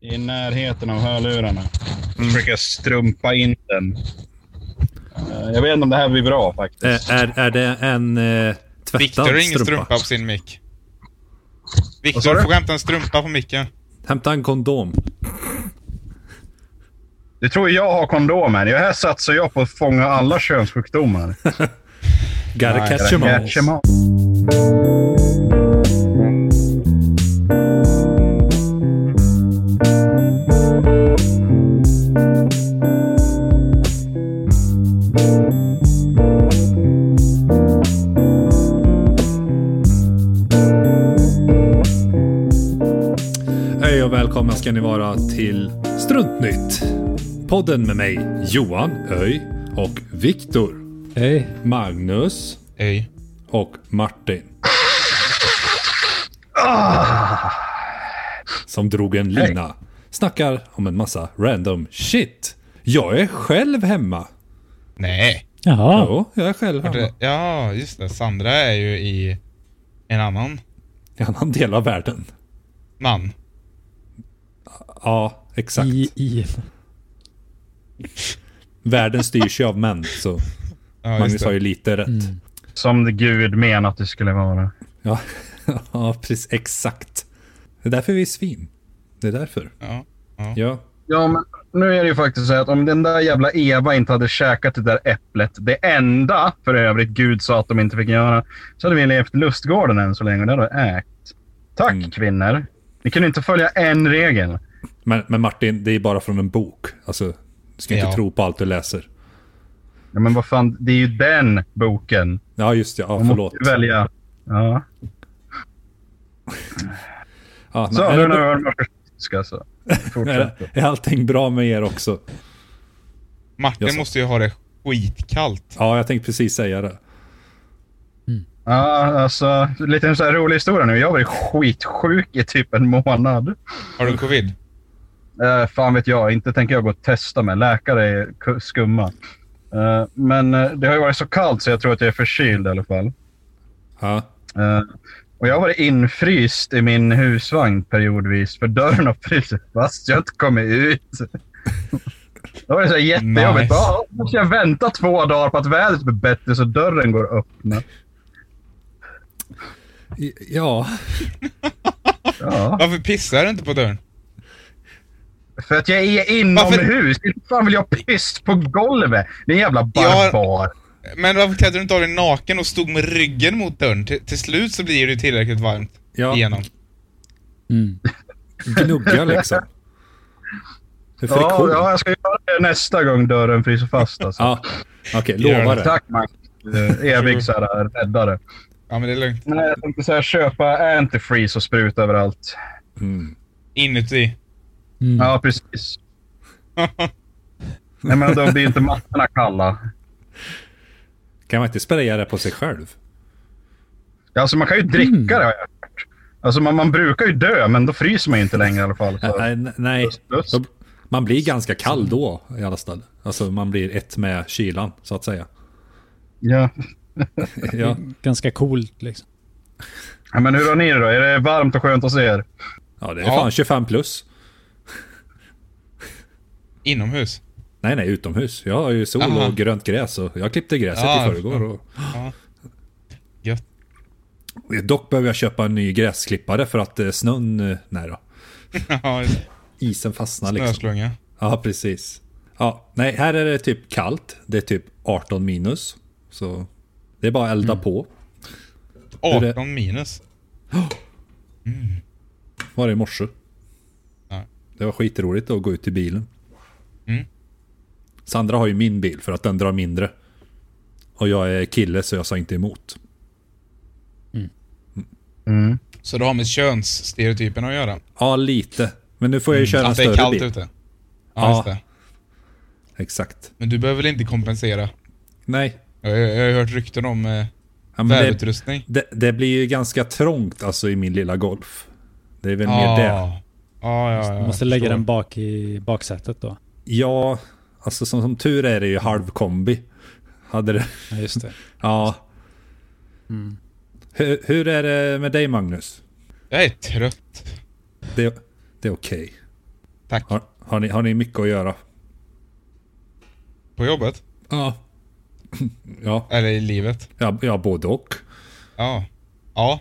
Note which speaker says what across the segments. Speaker 1: i närheten av hörlurarna. Försöker strumpa in den. Eh, Jag vet inte om det här blir bra faktiskt.
Speaker 2: Eh, är, är det en eh, tvättad
Speaker 3: Viktor har ingen strumpa
Speaker 2: strumpa?
Speaker 3: på sin mick.
Speaker 1: Vad sa
Speaker 3: Viktor
Speaker 1: du?
Speaker 3: får hämta en strumpa på micken.
Speaker 2: Hämta en kondom.
Speaker 1: Du tror jag har kondomer. Jag här satsar jag på att fånga alla könssjukdomar.
Speaker 2: Gotta catch 'em all.
Speaker 1: Catch 'em all.
Speaker 2: Hej och välkomna ska ni vara till Struntnytt. Podden med mig, Johan Öj och Viktor,
Speaker 4: Hej.
Speaker 2: Magnus
Speaker 3: Ej.
Speaker 2: och Martin. Som drog en lina. Snackar om en massa random shit. Jag är själv hemma.
Speaker 3: Nej.
Speaker 4: Jaha.
Speaker 2: Jo, jag är själv hemma.
Speaker 3: Det- Ja, just det. Sandra är ju i en annan
Speaker 2: I en annan del av världen.
Speaker 3: man.
Speaker 2: Ja, exakt.
Speaker 4: I, i.
Speaker 2: Världen styrs ju av män, så
Speaker 3: Ja, just
Speaker 2: Magnus har
Speaker 3: det.
Speaker 2: ju lite rätt.
Speaker 1: Som det Gud menat det skulle vara.
Speaker 2: Ja, ja, precis. Exakt. Det är därför vi är svin. Det är därför.
Speaker 3: Ja.
Speaker 2: Ja.
Speaker 1: Ja, men nu är det ju faktiskt så här att om den där jävla Eva inte hade käkat det där äpplet, det enda för övrigt Gud sa att de inte fick göra, så hade vi levt i lustgården än så länge och det hade vi ägt. Tack
Speaker 2: Mm.
Speaker 1: kvinnor. Ni kunde inte följa en regel.
Speaker 2: Men, men Martin, det är bara från en bok. Alltså, du ska
Speaker 3: Ja.
Speaker 2: inte tro på allt du läser.
Speaker 1: Ja, men vad fan, det är ju den boken.
Speaker 2: Ja, just det. Ja,
Speaker 1: Man
Speaker 2: förlåt.
Speaker 1: måste ju välja. Ja.
Speaker 2: Ja,
Speaker 1: Så,
Speaker 2: men
Speaker 1: nu
Speaker 2: är,
Speaker 1: när vi
Speaker 2: det,
Speaker 1: har ska så.
Speaker 2: är,
Speaker 1: alltså? Fortsätt.
Speaker 2: är allting bra med er också? Jag
Speaker 3: Martin
Speaker 2: sa-
Speaker 3: måste ju ha det skitkallt.
Speaker 2: Ja, jag tänkte precis säga det.
Speaker 1: Ja, alltså, lite så här rolig historia nu. Jag har varit skitsjuk i typ en månad.
Speaker 3: Har du covid?
Speaker 1: Eh, fan vet jag, inte tänker jag gå och testa mig. Läkare är ku- skumma. Eh, men eh, det har ju varit så kallt så jag tror att jag är förkyld i alla fall.
Speaker 2: Ja.
Speaker 1: Eh, och jag har varit infryst i min husvagn periodvis för dörren har frusit fast. Jag har inte kommit ut. Då var det så här jättejobbigt.
Speaker 3: Nice.
Speaker 1: Bara, "Åh, måste jag vänta två dagar på att vädret blir bättre så dörren går att öppna?
Speaker 2: I- Ja,
Speaker 1: Ja.
Speaker 3: Varför pissar du inte på dörren?
Speaker 1: För att jag är inomhus. Inte fan vill jag piss på golvet. Det är en jävla
Speaker 3: Jag har-
Speaker 1: barbar.
Speaker 3: Men varför klädde du inte av dig naken och stod med ryggen mot dörren? Till, till slut så blir det ju tillräckligt varmt
Speaker 2: Ja.
Speaker 3: igenom.
Speaker 4: Mm.
Speaker 2: gnugga liksom. Det är
Speaker 1: Ja,
Speaker 2: friktion.
Speaker 1: ja, jag ska göra det nästa gång dörren fryser fast. Alltså.
Speaker 2: Ja, okej.
Speaker 3: Gör
Speaker 2: lova
Speaker 3: det.
Speaker 2: det.
Speaker 1: Tack Max. Eh, Evig så här, räddare.
Speaker 3: Ja, men det är lugnt.
Speaker 1: Nej, jag tänkte så här, köpa antifreeze och spruta överallt.
Speaker 2: Mm.
Speaker 3: Inuti.
Speaker 4: Mm.
Speaker 1: Ja, precis. Nej, men då blir inte mattorna kalla.
Speaker 2: Kan man inte spraya det på sig själv?
Speaker 1: Alltså, man kan ju
Speaker 4: Mm.
Speaker 1: dricka det har jag hört. Alltså, man, man brukar ju dö, men då fryser man ju inte längre i alla fall. Så.
Speaker 2: Nej, nej, nej.
Speaker 1: plus.
Speaker 2: Då- Man blir ganska kall då i alla fall. Alltså man blir ett med kylan så att säga.
Speaker 1: Ja.
Speaker 2: Ja,
Speaker 4: Ganska coolt liksom.
Speaker 1: Ja, Men hur har ni det då? Är det varmt och skönt hos er?
Speaker 2: ja det är
Speaker 3: Ja.
Speaker 2: fan 25 plus.
Speaker 3: Inomhus.
Speaker 2: Nej, nej, utomhus. Jag har ju sol
Speaker 3: Aha.
Speaker 2: och grönt gräs och jag klippte gräset
Speaker 3: Ja,
Speaker 2: i förrgår. Och...
Speaker 3: Ja. Gött.
Speaker 2: Dock behöver jag köpa en ny gräsklippare för att eh, snön... eh, Nej då.
Speaker 3: Ja,
Speaker 2: Isen fastnar liksom.
Speaker 3: snöslunga.
Speaker 2: Ja, precis. Ja, nej, här är det typ kallt. Det är typ 18 minus. Så det är bara att
Speaker 3: Mm.
Speaker 2: elda på.
Speaker 3: 18 minus.
Speaker 2: Var det i morse.
Speaker 3: Ja.
Speaker 2: Det var skitroligt att gå ut i bilen.
Speaker 3: Mm.
Speaker 2: Sandra har ju min bil för att den drar mindre. Och jag är kille så jag sa inte emot.
Speaker 1: Mm.
Speaker 3: Så det har med könsstereotypen att göra?
Speaker 2: Ja, lite. Men nu får jag ju köra en
Speaker 3: Mm. Att det är
Speaker 2: större
Speaker 3: kallt
Speaker 2: bil.
Speaker 3: ute? Ja,
Speaker 2: Ja.
Speaker 3: just det.
Speaker 2: Exakt.
Speaker 3: Men du behöver väl inte kompensera?
Speaker 2: Nej.
Speaker 3: Jag, jag, jag har hört rykten om eh,
Speaker 2: Ja, men det,
Speaker 3: välutrustning.
Speaker 2: det, det blir ju ganska trångt alltså i min lilla Golf. Det är väl
Speaker 3: Ja.
Speaker 2: mer det.
Speaker 3: Ja, ja, ja.
Speaker 4: Måste
Speaker 3: jag
Speaker 4: lägga
Speaker 3: förstår.
Speaker 4: den bak i baksätet då.
Speaker 2: Ja, alltså som, som tur är det ju halv kombi. Hade det...
Speaker 4: Ja, just det.
Speaker 2: Ja. Hur, hur är det med dig Magnus?
Speaker 3: Jag är trött.
Speaker 2: Det, det är okej.
Speaker 3: Tack.
Speaker 2: Har, har, ni, har ni mycket att göra?
Speaker 3: På jobbet?
Speaker 2: Ja. Ja,
Speaker 3: Eller i livet?
Speaker 2: ja, ja både och.
Speaker 3: Ja. Ja.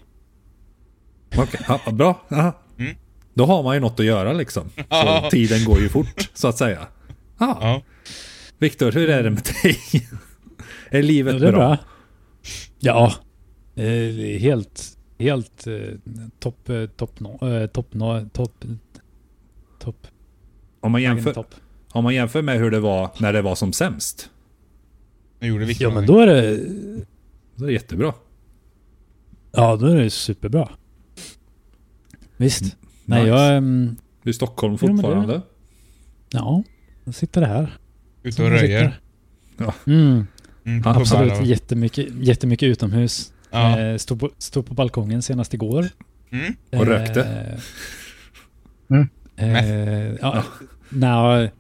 Speaker 2: Okej, ja, bra. Aha.
Speaker 3: Mm.
Speaker 2: Då har man ju något att göra liksom. Så tiden går ju fort, så att säga. Ja.
Speaker 3: Ja.
Speaker 2: Viktor, hur är det med dig? Är livet
Speaker 4: Ja, det är
Speaker 2: bra?
Speaker 4: bra. Ja. Eh, Helt, helt eh, topp, eh, topp, nå- eh, topp, nå- topp, topp,
Speaker 2: Om, man
Speaker 4: egen
Speaker 2: jämför,
Speaker 4: topp.
Speaker 2: om man jämför med hur det var när det var som sämst.
Speaker 3: Nu gjorde Viktor
Speaker 4: Ja, men
Speaker 3: någonting.
Speaker 4: då är det,
Speaker 2: Då är det jättebra.
Speaker 4: ja, då är det superbra. Visst. Nej,
Speaker 2: Nice.
Speaker 4: jag, ehm,
Speaker 2: Du är i Stockholm
Speaker 4: Jo, men det-
Speaker 2: fortfarande?
Speaker 4: ja, jag sitter här.
Speaker 3: Ute och röjer.
Speaker 2: Ja.
Speaker 4: Mm,
Speaker 3: Mm, på
Speaker 4: absolut,
Speaker 3: pubbarna.
Speaker 4: jättemycket, jättemycket utomhus.
Speaker 3: Ja.
Speaker 4: Eh, stod, på, stod på balkongen senast igår.
Speaker 3: Mm.
Speaker 2: Och rökte.
Speaker 1: Mm.
Speaker 4: Eh, ja, nej,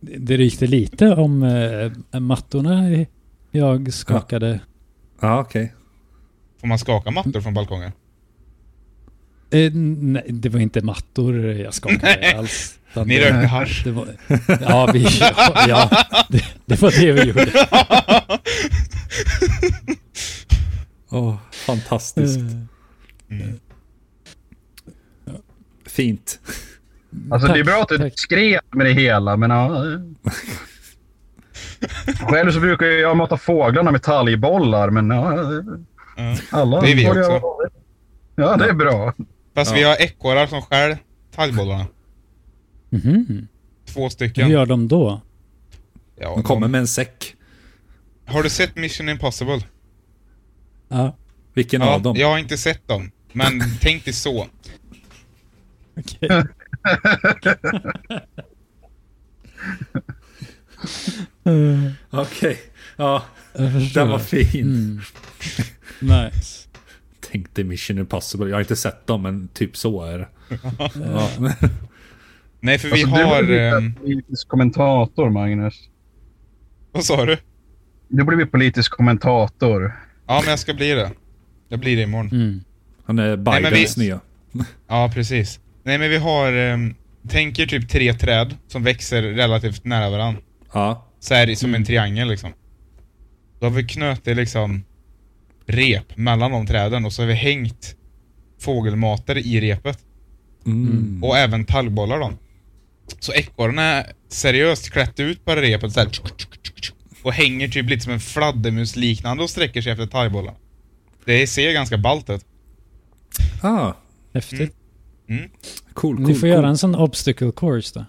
Speaker 4: det, det rykte lite om eh, mattorna i- jag skakade.
Speaker 2: Ja, okej.
Speaker 3: Får man skaka mattor från balkongen?
Speaker 4: Eh, nej, det var inte mattor jag skakade alls. utan
Speaker 3: Ni
Speaker 4: det-
Speaker 3: rökte hasch.
Speaker 4: Det var, ja, vi, ja, ja det, det var det vi gjorde.
Speaker 2: Åh, fantastiskt.
Speaker 4: Eh.
Speaker 2: Fint.
Speaker 1: Alltså det är
Speaker 4: Tack,
Speaker 1: bra att du
Speaker 4: tack.
Speaker 1: skrev med det hela, men ja. Själv så brukar jag mata fåglarna med talgbollar, men ja.
Speaker 3: Ja.
Speaker 1: Alla
Speaker 3: Mm. Det är vi
Speaker 1: får göra
Speaker 3: också.
Speaker 1: vad de vill. Ja, det är bra.
Speaker 3: Fast vi har ekorrar som skär talgbollarna.
Speaker 4: Mhm.
Speaker 3: Två
Speaker 4: Hur
Speaker 3: stycken.
Speaker 4: gör de då?
Speaker 3: Ja,
Speaker 2: De kommer med en säck.
Speaker 3: Har du sett Mission Impossible?
Speaker 4: Ja,
Speaker 2: Vilken av dem?
Speaker 3: Jag har inte sett dem. Men tänk dig så.
Speaker 4: okej. Eh,
Speaker 2: Okej. Ja,
Speaker 4: jag förstår.
Speaker 2: den var fin.
Speaker 4: Mm. Nice.
Speaker 2: Tänkte Mission Impossible. Jag har inte sett dem, men typ så är det. Ja.
Speaker 3: Nej, för vi
Speaker 1: Alltså, du
Speaker 3: har...
Speaker 1: borde bli
Speaker 3: ehm,
Speaker 1: politisk kommentator, Magnus.
Speaker 3: vad sa du?
Speaker 1: Du blir politisk kommentator.
Speaker 3: Ja, men jag ska bli det. Jag blir det imorgon.
Speaker 4: Mm.
Speaker 2: Han är
Speaker 3: men
Speaker 2: Bidens
Speaker 3: vi-
Speaker 2: nya.
Speaker 3: Ja, precis. Nej, men vi har... ehm, tänk er typ tre träd som växer relativt nära varandra.
Speaker 2: Ja.
Speaker 3: Så här i- som en triangel liksom. Då har vi knutit liksom rep mellan de träden och så har vi hängt fågelmater i repet.
Speaker 2: Mm.
Speaker 3: Och även talgbollar då. Så ekorren är seriöst klätt ut på repet så här, Och hänger typ lite som en fladdermus liknande och sträcker sig efter talgbollarna. Det ser ganska ballt ut.
Speaker 2: Ah,
Speaker 4: Häftigt.
Speaker 2: cool, cool,
Speaker 4: Ni får
Speaker 2: cool.
Speaker 4: göra en sån obstacle course då.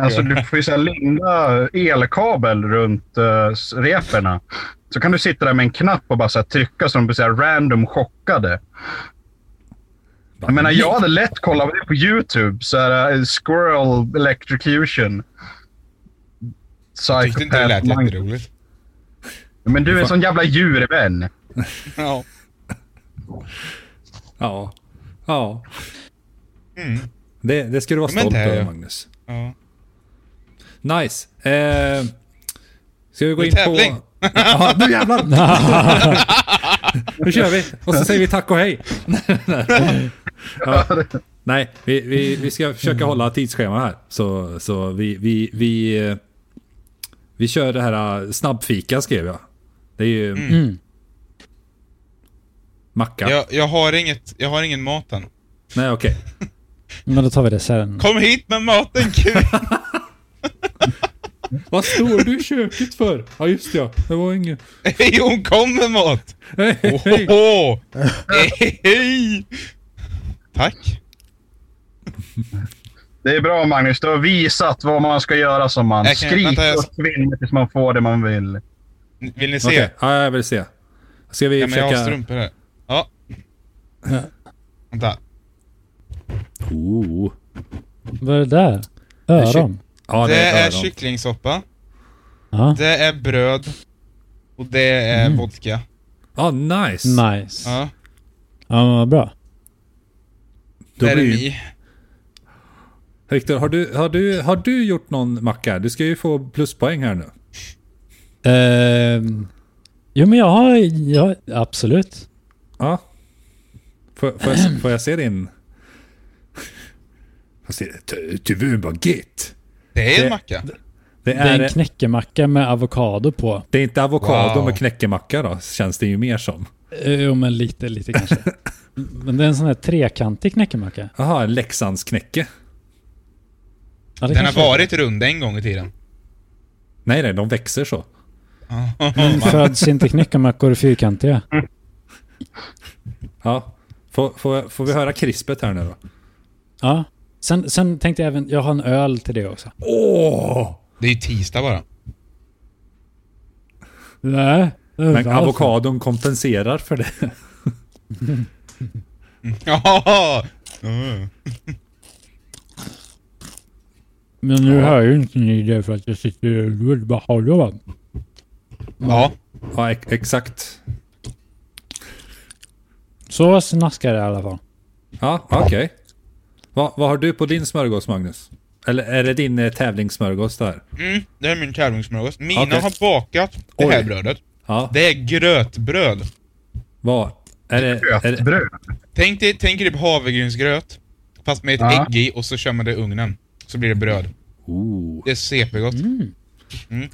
Speaker 1: Alltså du får ju så här linda elkabel runt eh, s- reperna. Så kan du sitta där med en knapp och bara så här trycka så de blir så här random chockade. Jag menar, jag hade lätt kollat på det på YouTube. Så här, eh, squirrel electrocution.
Speaker 3: Tyckte inte det lät
Speaker 1: Psychopath Magnus.
Speaker 3: jätteroligt.
Speaker 1: Men du är en sån jävla djurvän.
Speaker 3: Ja.
Speaker 2: Ja. Ja.
Speaker 3: Mm.
Speaker 2: Det, det ska du vara
Speaker 3: Ja, men
Speaker 2: stolt
Speaker 3: det är
Speaker 2: över,
Speaker 3: jag.
Speaker 2: Magnus.
Speaker 3: ja.
Speaker 2: Nice. Eh, ska vi gå
Speaker 3: Nu
Speaker 2: in
Speaker 3: tävling.
Speaker 2: på... Ja, nu jävlar! nu kör vi! Och så säger vi tack och hej. ja. Nej, vi, vi, vi ska försöka hålla tidsschema här. Så, så vi, vi, vi, eh, vi kör det här eh, snabbfika skrev jag. Det är ju
Speaker 4: Mm.
Speaker 2: macka.
Speaker 3: Jag, jag, har inget, jag har ingen mat än.
Speaker 2: Nej, okej.
Speaker 4: Men då tar vi det sen.
Speaker 3: Kom hit med maten kul!
Speaker 2: Vad står du i köket för? Ja, just det, ja. Det var ingen...
Speaker 3: Hej, hon kom med mat!
Speaker 2: Hej, hej, hej.
Speaker 3: Ohoho! Hej! Tack.
Speaker 1: Det är bra Magnus. Du har visat vad man ska göra som man.
Speaker 3: Jag kan-
Speaker 1: Skrik
Speaker 3: vänta, jag-
Speaker 1: och svinn tills man får det man vill.
Speaker 3: Vill ni se?
Speaker 2: Okej, ja, jag vill se. Ska vi
Speaker 3: ja, men jag har
Speaker 2: försöka...
Speaker 3: strumpor här. Ja. Vänta.
Speaker 2: Oh.
Speaker 4: Vad är det där? Öron?
Speaker 2: Ja, det,
Speaker 3: Det är
Speaker 2: öron.
Speaker 3: kycklingsoppa.
Speaker 4: Ja.
Speaker 3: Det är bröd. Och det är
Speaker 2: Mm.
Speaker 3: vodka.
Speaker 2: Ja, nice.
Speaker 4: Nice. Ja,
Speaker 3: Ja.
Speaker 4: men vad bra.
Speaker 2: Då
Speaker 3: det är
Speaker 2: blir-
Speaker 3: ni.
Speaker 2: Viktor, har du, har, du, har du gjort någon macka? Du ska ju få pluspoäng här nu.
Speaker 4: Ehm, jo, men jag har... Jag, absolut.
Speaker 2: Ja. Får, får, jag, se- får jag se din? Han ser "Tu- Tuvun bara git.
Speaker 3: Det är
Speaker 2: Det-
Speaker 3: en macka.
Speaker 2: Det
Speaker 4: Det är en
Speaker 2: är,
Speaker 4: knäckemacka med avokado på.
Speaker 2: det är inte avokado
Speaker 3: Wow.
Speaker 2: med knäckemacka då, känns det ju mer som.
Speaker 4: Eh, Jo, men lite, lite kanske. Men det är en sån här trekantig knäckemacka.
Speaker 2: Jaha, en Leksandsknäcke.
Speaker 4: Ja, det
Speaker 3: Den har
Speaker 4: kanske-
Speaker 3: varit rund en gång i tiden.
Speaker 2: Nej, nej, de växer så. Mm.
Speaker 4: Föds inte knäckemackor fyrkantiga?
Speaker 2: Ja. Får, får, får vi höra krispet här nu då?
Speaker 4: Ja. Sen, sen tänkte jag även, jag har en öl till det också.
Speaker 2: Åh!
Speaker 3: Det är ju tisdag bara.
Speaker 4: Nej. Alltså.
Speaker 2: Men avokadon kompenserar för det.
Speaker 3: Ja! Mm.
Speaker 4: Men nu hör ju inte ni det för att jag sitter i rullbahalo va?
Speaker 3: Ja.
Speaker 2: Ja, ex- exakt.
Speaker 4: Så snaskar det i alla fall.
Speaker 2: Ja, okej. Va, vad har du på din smörgås, Magnus? Eller är det din eh, tävlingssmörgås där?
Speaker 3: Mm, det här är min tävlingssmörgås. Mina
Speaker 2: Okej.
Speaker 3: har bakat det här
Speaker 2: Oj.
Speaker 3: brödet.
Speaker 2: Ja,
Speaker 3: Det är grötbröd.
Speaker 2: vad? Är det, är det,
Speaker 1: Köttbröd.
Speaker 3: Tänk dig, tänk dig typ havregrynsgröt. Fast med ett
Speaker 1: Ja.
Speaker 3: ägg i och så kör man det i ugnen. Så blir det bröd.
Speaker 2: oh.
Speaker 3: Det är CP-gott. Mm.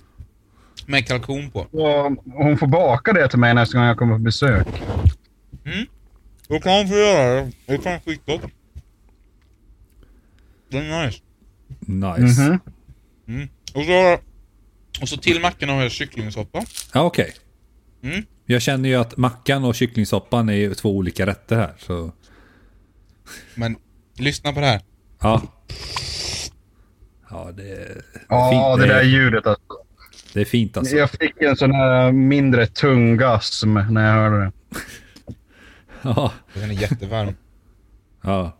Speaker 3: Med kalkon på.
Speaker 1: Och hon får baka det till mig nästa gång jag kommer på besök.
Speaker 3: Då kan man få göra det. Det är fan skitgott. Det är nice.
Speaker 2: nice.
Speaker 1: Mhm.
Speaker 3: Mm. Och så, och så till mackorna har jag kycklingsoppa.
Speaker 2: Ja, okej.
Speaker 3: Mm.
Speaker 2: Jag känner ju att mackan och kycklingsoppan är ju två olika rätter här. Så,
Speaker 3: Men lyssna på det här.
Speaker 2: ja. Ja, det är,
Speaker 1: Ja,
Speaker 2: fint.
Speaker 1: det
Speaker 2: Det
Speaker 1: där
Speaker 2: är,
Speaker 1: ljudet alltså.
Speaker 2: det är fint alltså.
Speaker 1: Jag fick en sån här mindre tungasm när jag hörde det.
Speaker 2: Ja.
Speaker 3: Den är jättevarm.
Speaker 2: ja.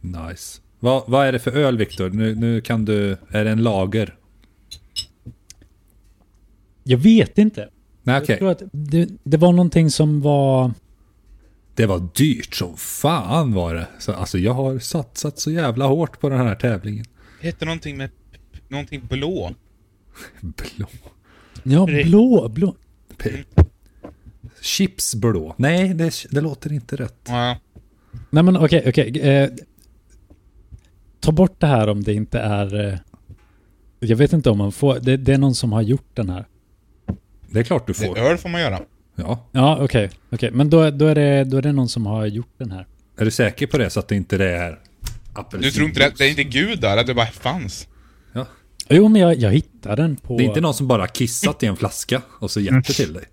Speaker 2: Nice. Vad, vad är det för öl, Viktor? Nu, nu kan du... Är det en lager?
Speaker 4: Jag vet inte.
Speaker 2: Nej,
Speaker 4: Jag
Speaker 2: okej.
Speaker 4: tror att det, det var någonting som var...
Speaker 2: Det var dyrt som fan var det. Så, alltså jag har satsat så jävla hårt på den här tävlingen.
Speaker 3: Det hette någonting med... p- p- Någonting blå.
Speaker 2: Blå.
Speaker 4: Ja,
Speaker 3: Det-
Speaker 4: blå, blå.
Speaker 2: P- Chips blå. Nej, det, det låter inte rätt.
Speaker 3: Ja.
Speaker 4: Nej men okej, okej. eh, ta bort det här om det inte är... Eh, jag vet inte om man får... Det, det är någon som har gjort den här.
Speaker 2: Det är klart du
Speaker 3: Det,
Speaker 2: får.
Speaker 3: öl får man göra.
Speaker 2: Ja.
Speaker 4: Ja, okej. okej. Men då, då, är det, då är det någon som har gjort den här.
Speaker 2: Är du säker på det så att det inte det är
Speaker 3: Du
Speaker 2: apelsinjuice?
Speaker 3: tror inte det, det är inte gud där, att det bara fanns?
Speaker 2: Ja.
Speaker 4: Jo, men jag, jag hittade den på...
Speaker 2: Det är inte någon som bara kissat i en flaska och så gett det till dig.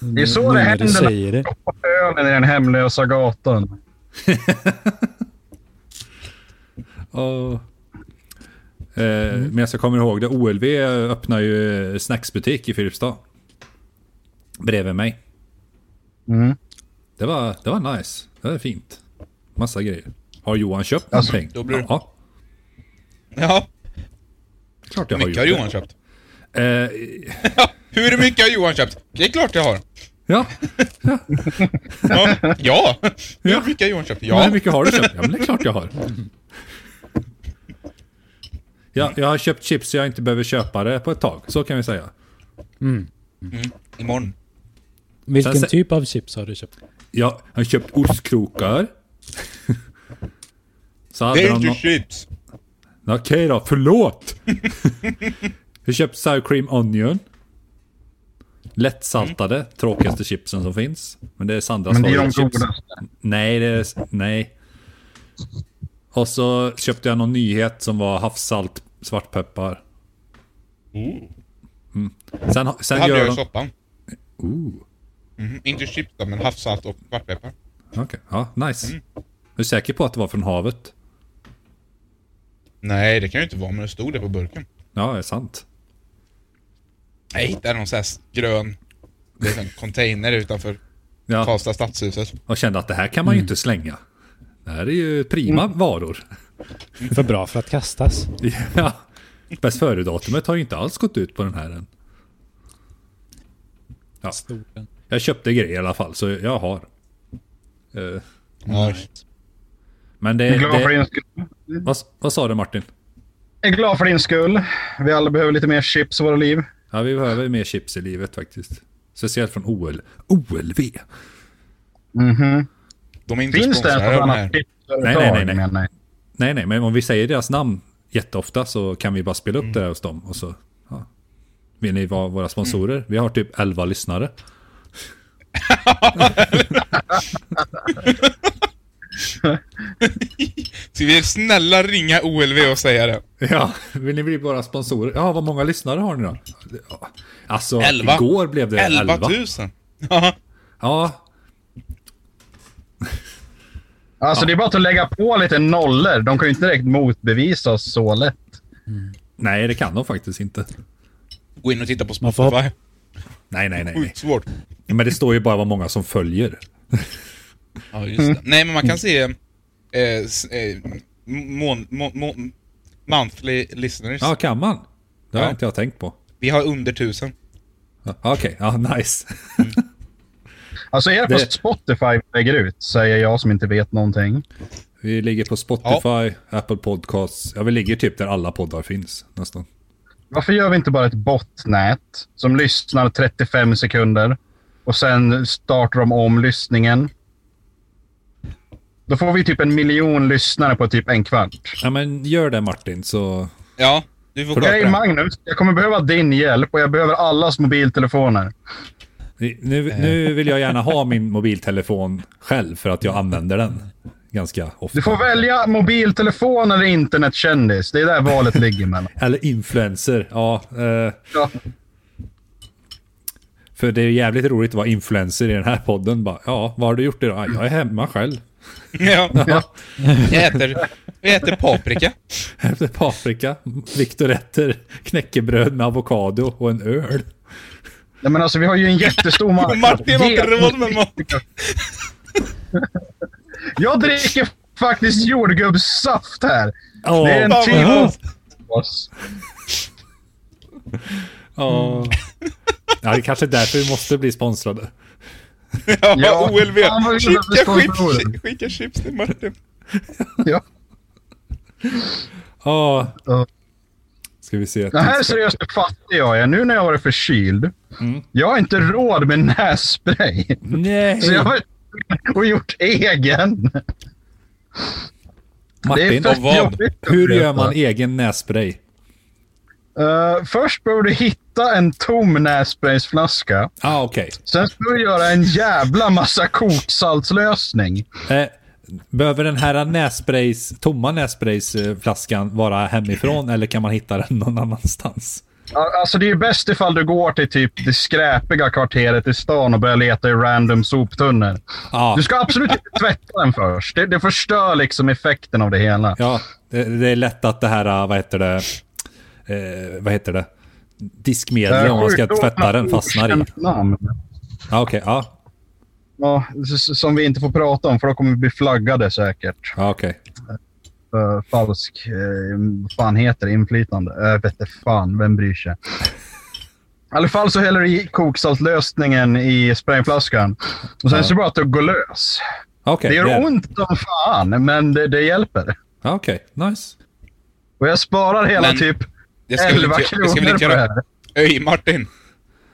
Speaker 1: Det är så
Speaker 4: nu
Speaker 1: det
Speaker 4: när
Speaker 1: händer.
Speaker 4: Du säger Mm, det.
Speaker 1: På ölen i den hemlösa gatan.
Speaker 2: Ja. Eh,
Speaker 1: Mm.
Speaker 2: Men jag ska komma ihåg det. OLV öppnar ju eh, snacksbutik i Filipstad. Bredvid mig.
Speaker 1: Mm.
Speaker 2: Det var, det var nice. Det var fint. Massa grejer. Har Johan köpt
Speaker 1: Alltså,
Speaker 2: någonting?
Speaker 3: då blir det-
Speaker 2: Ja,
Speaker 3: Ja,
Speaker 2: klart jag har gjort
Speaker 3: mycket har
Speaker 2: det.
Speaker 3: Johan köpt.
Speaker 2: Eh,
Speaker 3: Hur mycket har Johan köpt? Det är klart jag har.
Speaker 2: ja.
Speaker 3: Ja. ja. Hur mycket har Johan köpt?
Speaker 2: ja. Hur
Speaker 3: Ja.
Speaker 2: mycket har du köpt? Ja, men det är klart jag har. Ja, jag har köpt chips så jag inte behöver köpa det på ett tag. Så kan vi säga.
Speaker 3: Imorgon.
Speaker 4: Vilken
Speaker 2: Sen sä-
Speaker 4: typ av chips har du köpt?
Speaker 2: Ja, jag har köpt ostkrokar. Så hade
Speaker 3: Det är
Speaker 2: de
Speaker 3: inte
Speaker 2: nå-
Speaker 3: chips.
Speaker 2: Okej då, förlåt! jag köpte sour cream onion. Lättsaltade, tråkigaste chipsen som finns. Men det är Sandras
Speaker 1: Men det är de
Speaker 2: favoritchips.
Speaker 1: godaste.
Speaker 2: Nej, det är, nej. Och så köpte jag någon nyhet som var havssalt, svartpeppar. Mm. Sen, ha-
Speaker 3: Det
Speaker 2: sen
Speaker 3: hade
Speaker 2: gör
Speaker 3: jag i
Speaker 2: de...
Speaker 3: soppan.
Speaker 2: Ooh,
Speaker 3: Mm, inte chips då, men havssalt och svartpeppar.
Speaker 2: okej. Ja, nice.
Speaker 3: Mm.
Speaker 2: Är du säker på att det var från havet?
Speaker 3: Nej, det kan ju inte vara, men det stod det på burken.
Speaker 2: Ja, det är sant.
Speaker 3: Jag hittade någon sån här grön... Det är en container utanför
Speaker 2: Ja,
Speaker 3: Karlstad stadshuset.
Speaker 2: och kände att det här kan man ju inte slänga. Det här är ju prima varor.
Speaker 4: För bra för att kastas.
Speaker 2: Ja. Bäst före-datumet har ju inte alls gått ut på den här än. Ja. Jag köpte grejer i alla fall, så jag har. Eh,
Speaker 3: Nice.
Speaker 2: Men det...
Speaker 1: Jag är glad för
Speaker 2: det
Speaker 1: din skull.
Speaker 2: vad, vad sa du Martin?
Speaker 1: Jag är glad för din skull. Vi alla behöver lite mer chips i våra liv.
Speaker 2: Ja, vi behöver ju mer chips i livet faktiskt. Speciellt från OL. OLV!
Speaker 1: Mhm.
Speaker 3: De är inte
Speaker 1: Finns det ens
Speaker 3: sponsrade
Speaker 1: något
Speaker 3: av de här.
Speaker 1: annat chipsföretag?
Speaker 2: Nej, nej, nej, nej.
Speaker 1: Men, nej.
Speaker 2: Nej, nej, men om vi säger deras namn jätteofta så kan vi bara spela upp det där hos dem. Och så, ja. Vill ni vara våra sponsorer? Vi har typ 11 lyssnare.
Speaker 3: Ska vi snälla ringa OLV och säga det?
Speaker 2: Ja, vill ni bli våra sponsorer? Ja, vad många lyssnare har ni då? Ja. Alltså,
Speaker 3: Elva. typ.
Speaker 2: igår blev det 11.
Speaker 3: 11 000! Ja.
Speaker 2: Ja,
Speaker 1: Alltså det är bara att lägga på lite nollor. De kan ju inte direkt motbevisa oss så lätt.
Speaker 2: nej, det kan de faktiskt inte.
Speaker 3: Gå in och titta på
Speaker 4: Man får hoppa-
Speaker 3: Spotify.
Speaker 2: Nej, nej, nej. nej.
Speaker 3: Skitsvårt.
Speaker 2: Men det står ju bara vad många som följer.
Speaker 3: Ja, just det. Nej, men man kan se eh, s- eh, mån, må, må, monthly listeners.
Speaker 2: Ja, kan man? Det har
Speaker 3: Ja.
Speaker 2: inte jag tänkt på.
Speaker 3: Vi har under 1000.
Speaker 2: Ja, Okej, ja, nice.
Speaker 1: Alltså är det på
Speaker 2: Det-
Speaker 1: Spotify vi lägger ut, säger jag som inte vet någonting.
Speaker 2: Vi ligger på Spotify, Apple Podcasts. Ja, vi ligger typ där alla poddar finns nästan.
Speaker 1: Varför gör vi inte bara ett botnät som lyssnar 35 sekunder och sen startar de om lyssningen? Då får vi typ en miljon lyssnare på typ en kvart.
Speaker 2: Ja, men gör det Martin, så...
Speaker 3: Ja, du får gå
Speaker 1: Okej
Speaker 3: på det.
Speaker 1: Magnus, jag kommer behöva din hjälp och jag behöver allas mobiltelefoner.
Speaker 2: Nu,
Speaker 3: Eh.
Speaker 2: nu vill jag gärna ha min mobiltelefon själv för att jag använder den ganska ofta.
Speaker 1: Du får välja mobiltelefon eller internetkändis. Det är där valet ligger mellan.
Speaker 2: Eller influencer, ja. Eh,
Speaker 1: Ja.
Speaker 2: för det är jävligt roligt att vara influencer i den här podden. Bara, ja, vad har du gjort idag? "Ja, Jag är hemma själv.
Speaker 3: Ja. Jag äter, jag äter paprika.
Speaker 2: Efter paprika, viktorätter, knäckebröd med avokado och en öl.
Speaker 1: Nej, men alltså, vi har ju en jättestor marknad.
Speaker 3: Martin har inte råd med mat.
Speaker 1: Jag dricker faktiskt jordgubbssaft här.
Speaker 2: Åh,
Speaker 1: Det är en
Speaker 3: Fan, vad
Speaker 1: team.
Speaker 3: gott.
Speaker 2: åh. Ja, det är kanske är därför vi måste bli sponsrade.
Speaker 3: Ja,
Speaker 1: Ja.
Speaker 3: OLV.
Speaker 1: Fan, vad kul att vi
Speaker 3: Skicka
Speaker 1: sponsorer.
Speaker 3: chips, skicka chips till Martin.
Speaker 1: Ja.
Speaker 2: Ja.
Speaker 1: Ja.
Speaker 2: Ska vi se.
Speaker 1: Det här är seriöst hur fattig jag är. Nu när jag har varit förkyld.
Speaker 2: Mm.
Speaker 1: Jag har inte råd med nässpray.
Speaker 2: Nej!
Speaker 1: Så jag har och gjort egen.
Speaker 2: Martin,
Speaker 1: fett
Speaker 3: och vad?
Speaker 1: jobbigt att
Speaker 2: hur gör
Speaker 1: veta.
Speaker 2: man egen nässpray?
Speaker 1: Eh, först behöver du hitta en tom nässpraysflaska.
Speaker 2: Ah, okej.
Speaker 1: Sen ska du göra en jävla massa koksaltslösning.
Speaker 2: Eh, behöver den här nässprays, tomma nässpraysflaskan vara hemifrån eller kan man hitta den någon annanstans?
Speaker 1: Ja, Alltså det är ju bäst ifall du går till typ det skräpiga kvarteret i stan och börjar leta i random soptunnor.
Speaker 2: Ja,
Speaker 1: Du ska absolut inte tvätta den först. Det, det förstör liksom effekten av det hela.
Speaker 2: ja det, det är lätt att det här, eh, vad heter det, eh, vad heter det, diskmedel om man ska
Speaker 1: Sjukdomarna
Speaker 2: tvätta den fastnar i.
Speaker 1: okänt namn.
Speaker 2: Ja, okej. Ja,
Speaker 1: Ja, s- som vi inte får prata om för då kommer vi bli flaggade säkert.
Speaker 2: ja okej.
Speaker 1: För falsk, eh, vad fan heter det, inflytande. Jag vet inte fan, vem bryr sig? I alla fall så häller du i koksaltlösningen i sprayflaskan. Och sen så är det bara att du går lös.
Speaker 2: Okej,
Speaker 1: Det
Speaker 2: det är-
Speaker 1: gör ont som fan, men det, det hjälper.
Speaker 2: Ja, okej. Nice.
Speaker 1: Och jag sparar hela
Speaker 3: Men-
Speaker 1: typ
Speaker 3: Jag ska väl
Speaker 1: 11
Speaker 3: inte, jag ska väl
Speaker 1: kronor
Speaker 3: inte
Speaker 1: på det
Speaker 3: göra...
Speaker 1: här.
Speaker 3: Öj, Martin.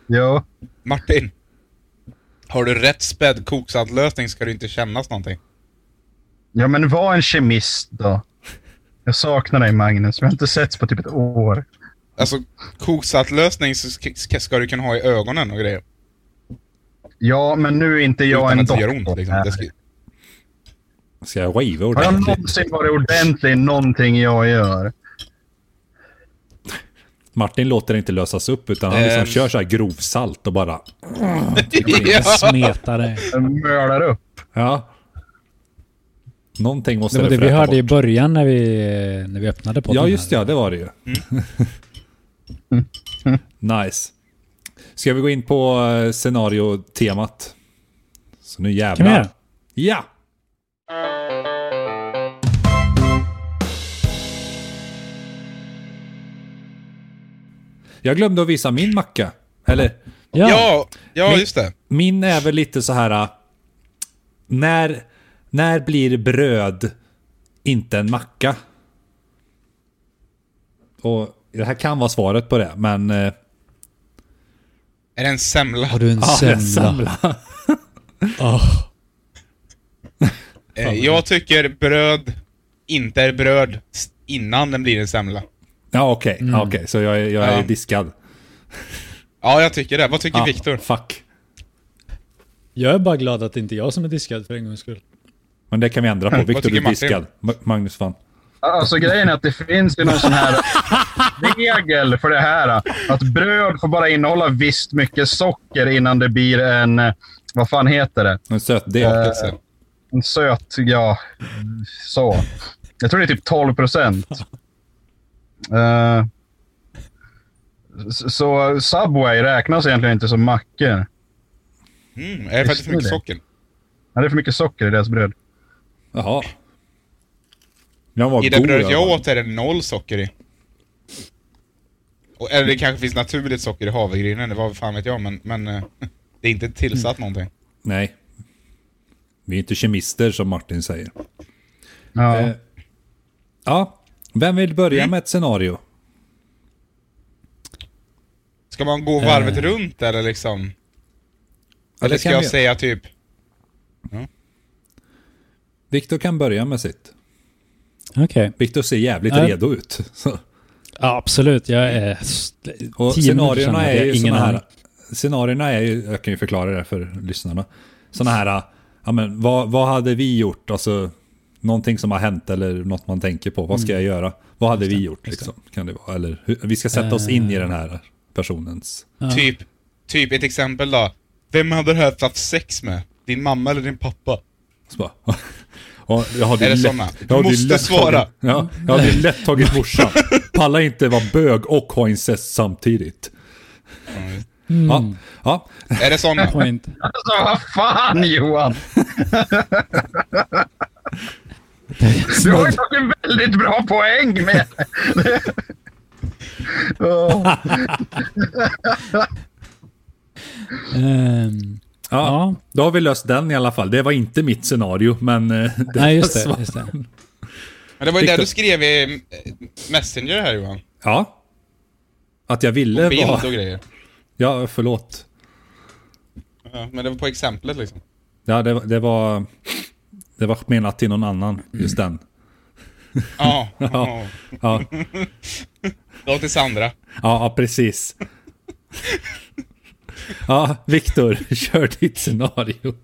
Speaker 1: Jo.
Speaker 3: Martin. Har du rätt spädd koksaltlösning ska du inte kännas någonting.
Speaker 1: Ja, men var en kemist då. Jag saknar dig Magnus. Vi har inte setts på typ ett år.
Speaker 3: Alltså, koksaltlösning så ska, ska- ska du kunna ha i ögonen och grejer.
Speaker 1: Ja, men nu är inte jag
Speaker 3: utan
Speaker 1: en
Speaker 3: att det gör
Speaker 1: doktor.
Speaker 3: ont liksom. Det ska,
Speaker 2: Ska jag riva
Speaker 1: Har jag
Speaker 2: ordentligt?
Speaker 1: någonsin varit ordentlig i någonting jag gör?
Speaker 2: Martin låter det inte lösas upp utan han
Speaker 1: Eh.
Speaker 2: liksom
Speaker 3: Ehm.
Speaker 2: kör så här grovsalt och bara...
Speaker 3: ja.
Speaker 4: Smetare.
Speaker 1: Jag mördar upp.
Speaker 2: Ja. Någonting måste
Speaker 4: Det var det vi
Speaker 2: fräta
Speaker 4: hörde i
Speaker 2: bort.
Speaker 4: början när vi, när vi öppnade podden.
Speaker 2: Ja, just
Speaker 4: här. Mm.
Speaker 2: ja, det var det ju. nice. Ska vi gå in på eh, scenariotemat? Så nu
Speaker 4: Kan vi göra?
Speaker 2: jävlar. Ja! Jag glömde att visa min macka. Eller,
Speaker 4: Ja.
Speaker 3: ja, ja,
Speaker 2: Men-
Speaker 3: just det.
Speaker 2: min är väl lite så här... äh, När, när blir bröd inte en macka? Och det här kan vara svaret på det, men... eh,
Speaker 3: Är det en semla?
Speaker 4: Har du en
Speaker 2: ja,
Speaker 4: semla?
Speaker 2: en semla.
Speaker 4: Åh.
Speaker 3: Eh, jag tycker bröd inte är bröd s- innan den blir en semla.
Speaker 2: Ja, okej. Okay. så jag, är- jag är
Speaker 3: Mm. Ja.
Speaker 2: diskad.
Speaker 3: Ja, jag tycker det. Vad tycker
Speaker 2: Ah,
Speaker 3: Viktor?
Speaker 2: Fuck.
Speaker 4: Jag är bara glad att det inte är jag som är diskad för en gångs skull.
Speaker 2: Men det kan vi ändra på. Viktor,
Speaker 3: Mm. tycker
Speaker 2: du är
Speaker 3: Martin?
Speaker 2: diskad. Ma- Magnus fan.
Speaker 1: Alltså grejen är att det finns ju någon sån här regel för det här. Att bröd får bara innehålla visst mycket socker innan det blir en, eh, vad fan heter det?
Speaker 2: En söt del.
Speaker 3: Alltså,
Speaker 1: En söt, ja, så. Jag tror det är typ 12 procent. Eh, så Subway räknas egentligen inte som mackor.
Speaker 3: Mm, är det för att det är för mycket
Speaker 1: Visste ni
Speaker 3: socker?
Speaker 1: Ja, det är för mycket socker i deras bröd.
Speaker 2: Jaha. Den var
Speaker 3: I det
Speaker 2: god.
Speaker 3: brödet jag
Speaker 2: alla fall.
Speaker 3: åt är det noll socker i. Och, eller det kanske finns naturligt socker i havregrynen, det var fan vet jag, men, men eh, det är inte tillsatt någonting.
Speaker 2: Nej. Vi är inte kemister som Martin säger.
Speaker 1: Ja.
Speaker 2: Eh, ja. Vem vill börja
Speaker 3: Mm.
Speaker 2: med ett scenario?
Speaker 3: Ska man gå varvet runt eller liksom? Eller
Speaker 2: Eller
Speaker 3: ska
Speaker 2: kan
Speaker 3: jag
Speaker 2: vi-
Speaker 3: säga typ...
Speaker 2: Viktor kan börja med sitt.
Speaker 4: Okej.
Speaker 2: Viktor ser jävligt
Speaker 4: Ja.
Speaker 2: redo ut. Så.
Speaker 4: Ja, absolut. Jag är...
Speaker 2: Och
Speaker 4: 10
Speaker 2: scenarierna är ju såna
Speaker 4: här.
Speaker 2: här... Scenarierna är ju, jag kan ju förklara det för lyssnarna. Såna här, ja men vad, vad hade vi gjort? Alltså, någonting som har hänt eller något man tänker på. Vad ska jag göra? Vad hade vi gjort liksom? Kan det Eh. vara? Eller hur, vi ska sätta oss in i den här personens...
Speaker 3: Typ, typ ett exempel då. Vem hade du helst haft sex med? Din mamma eller din pappa?
Speaker 2: Så bara, och jag hade
Speaker 3: Är det
Speaker 2: lätt-
Speaker 3: såna?
Speaker 2: jag
Speaker 3: Du
Speaker 2: hade
Speaker 3: måste
Speaker 2: lätt
Speaker 3: svara.
Speaker 2: Tagit, ja, jag hade lätt tagit morsan. Palla inte vara bög och ha incest samtidigt.
Speaker 4: Mm.
Speaker 2: Ja, ja,
Speaker 3: Är det såna?
Speaker 4: Point.
Speaker 1: Alltså vad fan Johan! Du har ju tagit en väldigt bra poäng med. Åh,
Speaker 4: Ehm,
Speaker 2: ja.
Speaker 4: ja.
Speaker 2: Då har vi löst den i alla fall. Det var inte mitt scenario, men... eh, Det
Speaker 4: Nej, just det.
Speaker 2: var-
Speaker 4: Just det.
Speaker 3: Men det var ju det
Speaker 2: Victor.
Speaker 3: du skrev i eh, Messenger här Johan.
Speaker 2: Ja. Att jag ville
Speaker 3: Och bild och
Speaker 2: vara...
Speaker 3: grejer.
Speaker 2: Ja, förlåt.
Speaker 3: Ja, men det var på exemplet liksom.
Speaker 2: Ja, det, var- det var... Det var menat till någon annan, just den.
Speaker 3: Ja. ja.
Speaker 2: Ja,
Speaker 3: Då till Sandra.
Speaker 2: ja precis. Ja, Viktor, kör ditt scenario.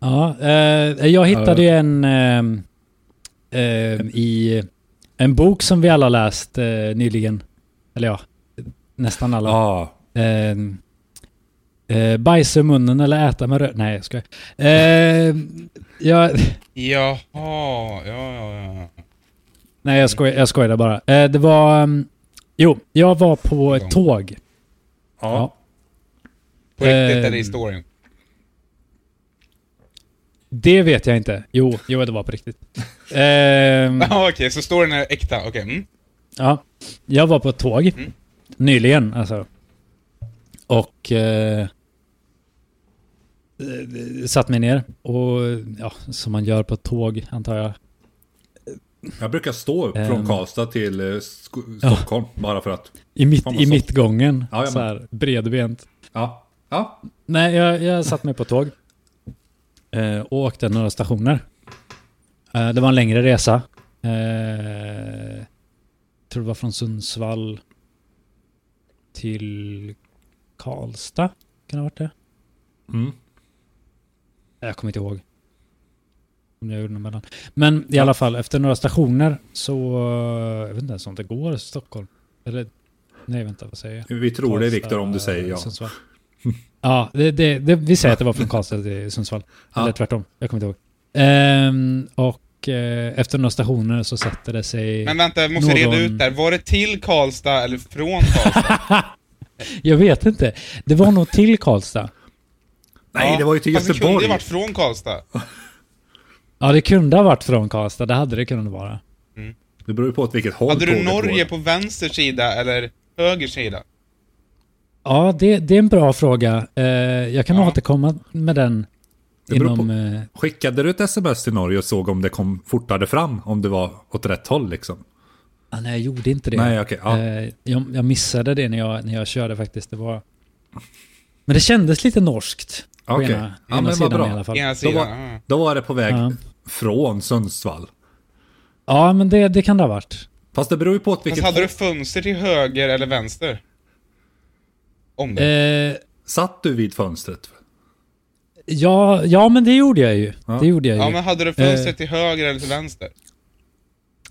Speaker 4: Ja, eh, jag hittade ju en ehm, ehm, i en bok som vi alla läst eh, nyligen. Eller ja, nästan alla.
Speaker 2: Ja,
Speaker 4: Ehm, eh, bajsa i munnen eller äta med röd... Nej, jag skojar. Ehm, jag,
Speaker 3: Jaha, ja, ja, ja.
Speaker 4: nej, jag, skoj, jag skojade bara. Eh, det var... ehm, jo, jag var på ett tåg.
Speaker 2: ja.
Speaker 3: På riktigt
Speaker 4: Ehm.
Speaker 2: Eh,
Speaker 3: är det historien.
Speaker 4: Det vet jag inte. Jo, jo det var på riktigt. Ehm,
Speaker 3: Ja, okej, så storyn är äkta. Okej. Mm.
Speaker 4: Ja, jag var på ett tåg
Speaker 3: Mm.
Speaker 4: nyligen alltså. Och eh, eh, satt mig ner och ja, som man gör på ett tåg antar jag.
Speaker 2: Jag brukar stå upp
Speaker 4: Ehm.
Speaker 2: från Karlstad till eh, Sk-
Speaker 4: Ja.
Speaker 2: Stockholm, bara för att...
Speaker 4: I, mitt,
Speaker 2: Fan, vad
Speaker 4: i
Speaker 2: soft.
Speaker 4: mittgången,
Speaker 2: Ja, jajamän.
Speaker 4: så här bredbent.
Speaker 2: Ja, ja.
Speaker 4: Nej, jag, jag satt mig på ett tåg eh, och åkte några stationer. Eh, det var en längre resa. Eh, tror det var från Sundsvall till Karlstad. Kan det ha varit det?
Speaker 2: Mm.
Speaker 4: Jag kommer inte ihåg. Om jag gjorde något mellan. Men i alla fall, efter några stationer så... eh, Jag vet inte ens om det går i Stockholm. Eller... Nej, vänta, vad säger jag?
Speaker 2: Vi tror det,
Speaker 4: Karlstad, eh,
Speaker 2: Viktor, om du säger ja.
Speaker 4: Sundsvall. Ja, det, det, det, vi säger att det var från Karlstad till Sundsvall.
Speaker 2: Ja.
Speaker 4: Eller tvärtom, jag kommer inte ihåg. Ehm, och eh, efter några stationer så sätter det sig...
Speaker 3: Men vänta, jag måste reda
Speaker 4: Någon-
Speaker 3: ut där. Var det till Karlstad eller från Karlstad?
Speaker 4: Jag vet inte. Det var nog till Karlstad.
Speaker 2: Nej,
Speaker 3: Ja,
Speaker 2: det var ju till
Speaker 3: fast Det kunde
Speaker 2: Göteborg.
Speaker 3: ju varit från Karlstad.
Speaker 4: Ja, det kunde ha varit från Karlstad. Det hade det kunnat vara.
Speaker 2: Det beror ju på åt vilket håll
Speaker 3: Hade du
Speaker 2: tåget går.
Speaker 3: Norge på vänster sida eller höger sida?
Speaker 4: Ja, det, det är en bra fråga. Eh, jag kan
Speaker 3: Ja.
Speaker 4: återkomma med den
Speaker 2: Det beror
Speaker 4: inom...
Speaker 2: på-
Speaker 4: eh,
Speaker 2: Skickade du ett sms till Norge och såg om det kom fortare fram? Om det var åt rätt håll liksom?
Speaker 4: Ah, nej, jag gjorde inte det.
Speaker 2: Nej, okej. ja.
Speaker 4: Eh, jag, jag missade det när jag, när jag körde faktiskt. Det var... Men det kändes lite norskt. På
Speaker 2: Okej.
Speaker 4: ena,
Speaker 2: Ja,
Speaker 4: ena
Speaker 2: men vad
Speaker 4: sidan
Speaker 2: bra.
Speaker 4: i alla fall.
Speaker 3: Ena
Speaker 2: Då
Speaker 3: sidan.
Speaker 2: var,
Speaker 3: ja.
Speaker 2: då var det på väg
Speaker 4: Ja.
Speaker 2: från Sundsvall.
Speaker 4: Ja, men det, det kan det ha varit.
Speaker 2: Fast det beror ju på att
Speaker 3: Fast
Speaker 2: vilket...
Speaker 3: hade du
Speaker 2: håll-
Speaker 3: fönster till höger eller vänster? Om det.
Speaker 4: Eh,
Speaker 2: Satt du vid fönstret?
Speaker 4: ja, ja, men det gjorde jag ju.
Speaker 2: Ja.
Speaker 4: Det gjorde jag ju.
Speaker 3: Ja, men hade du fönster
Speaker 4: eh.
Speaker 3: till höger eller till vänster?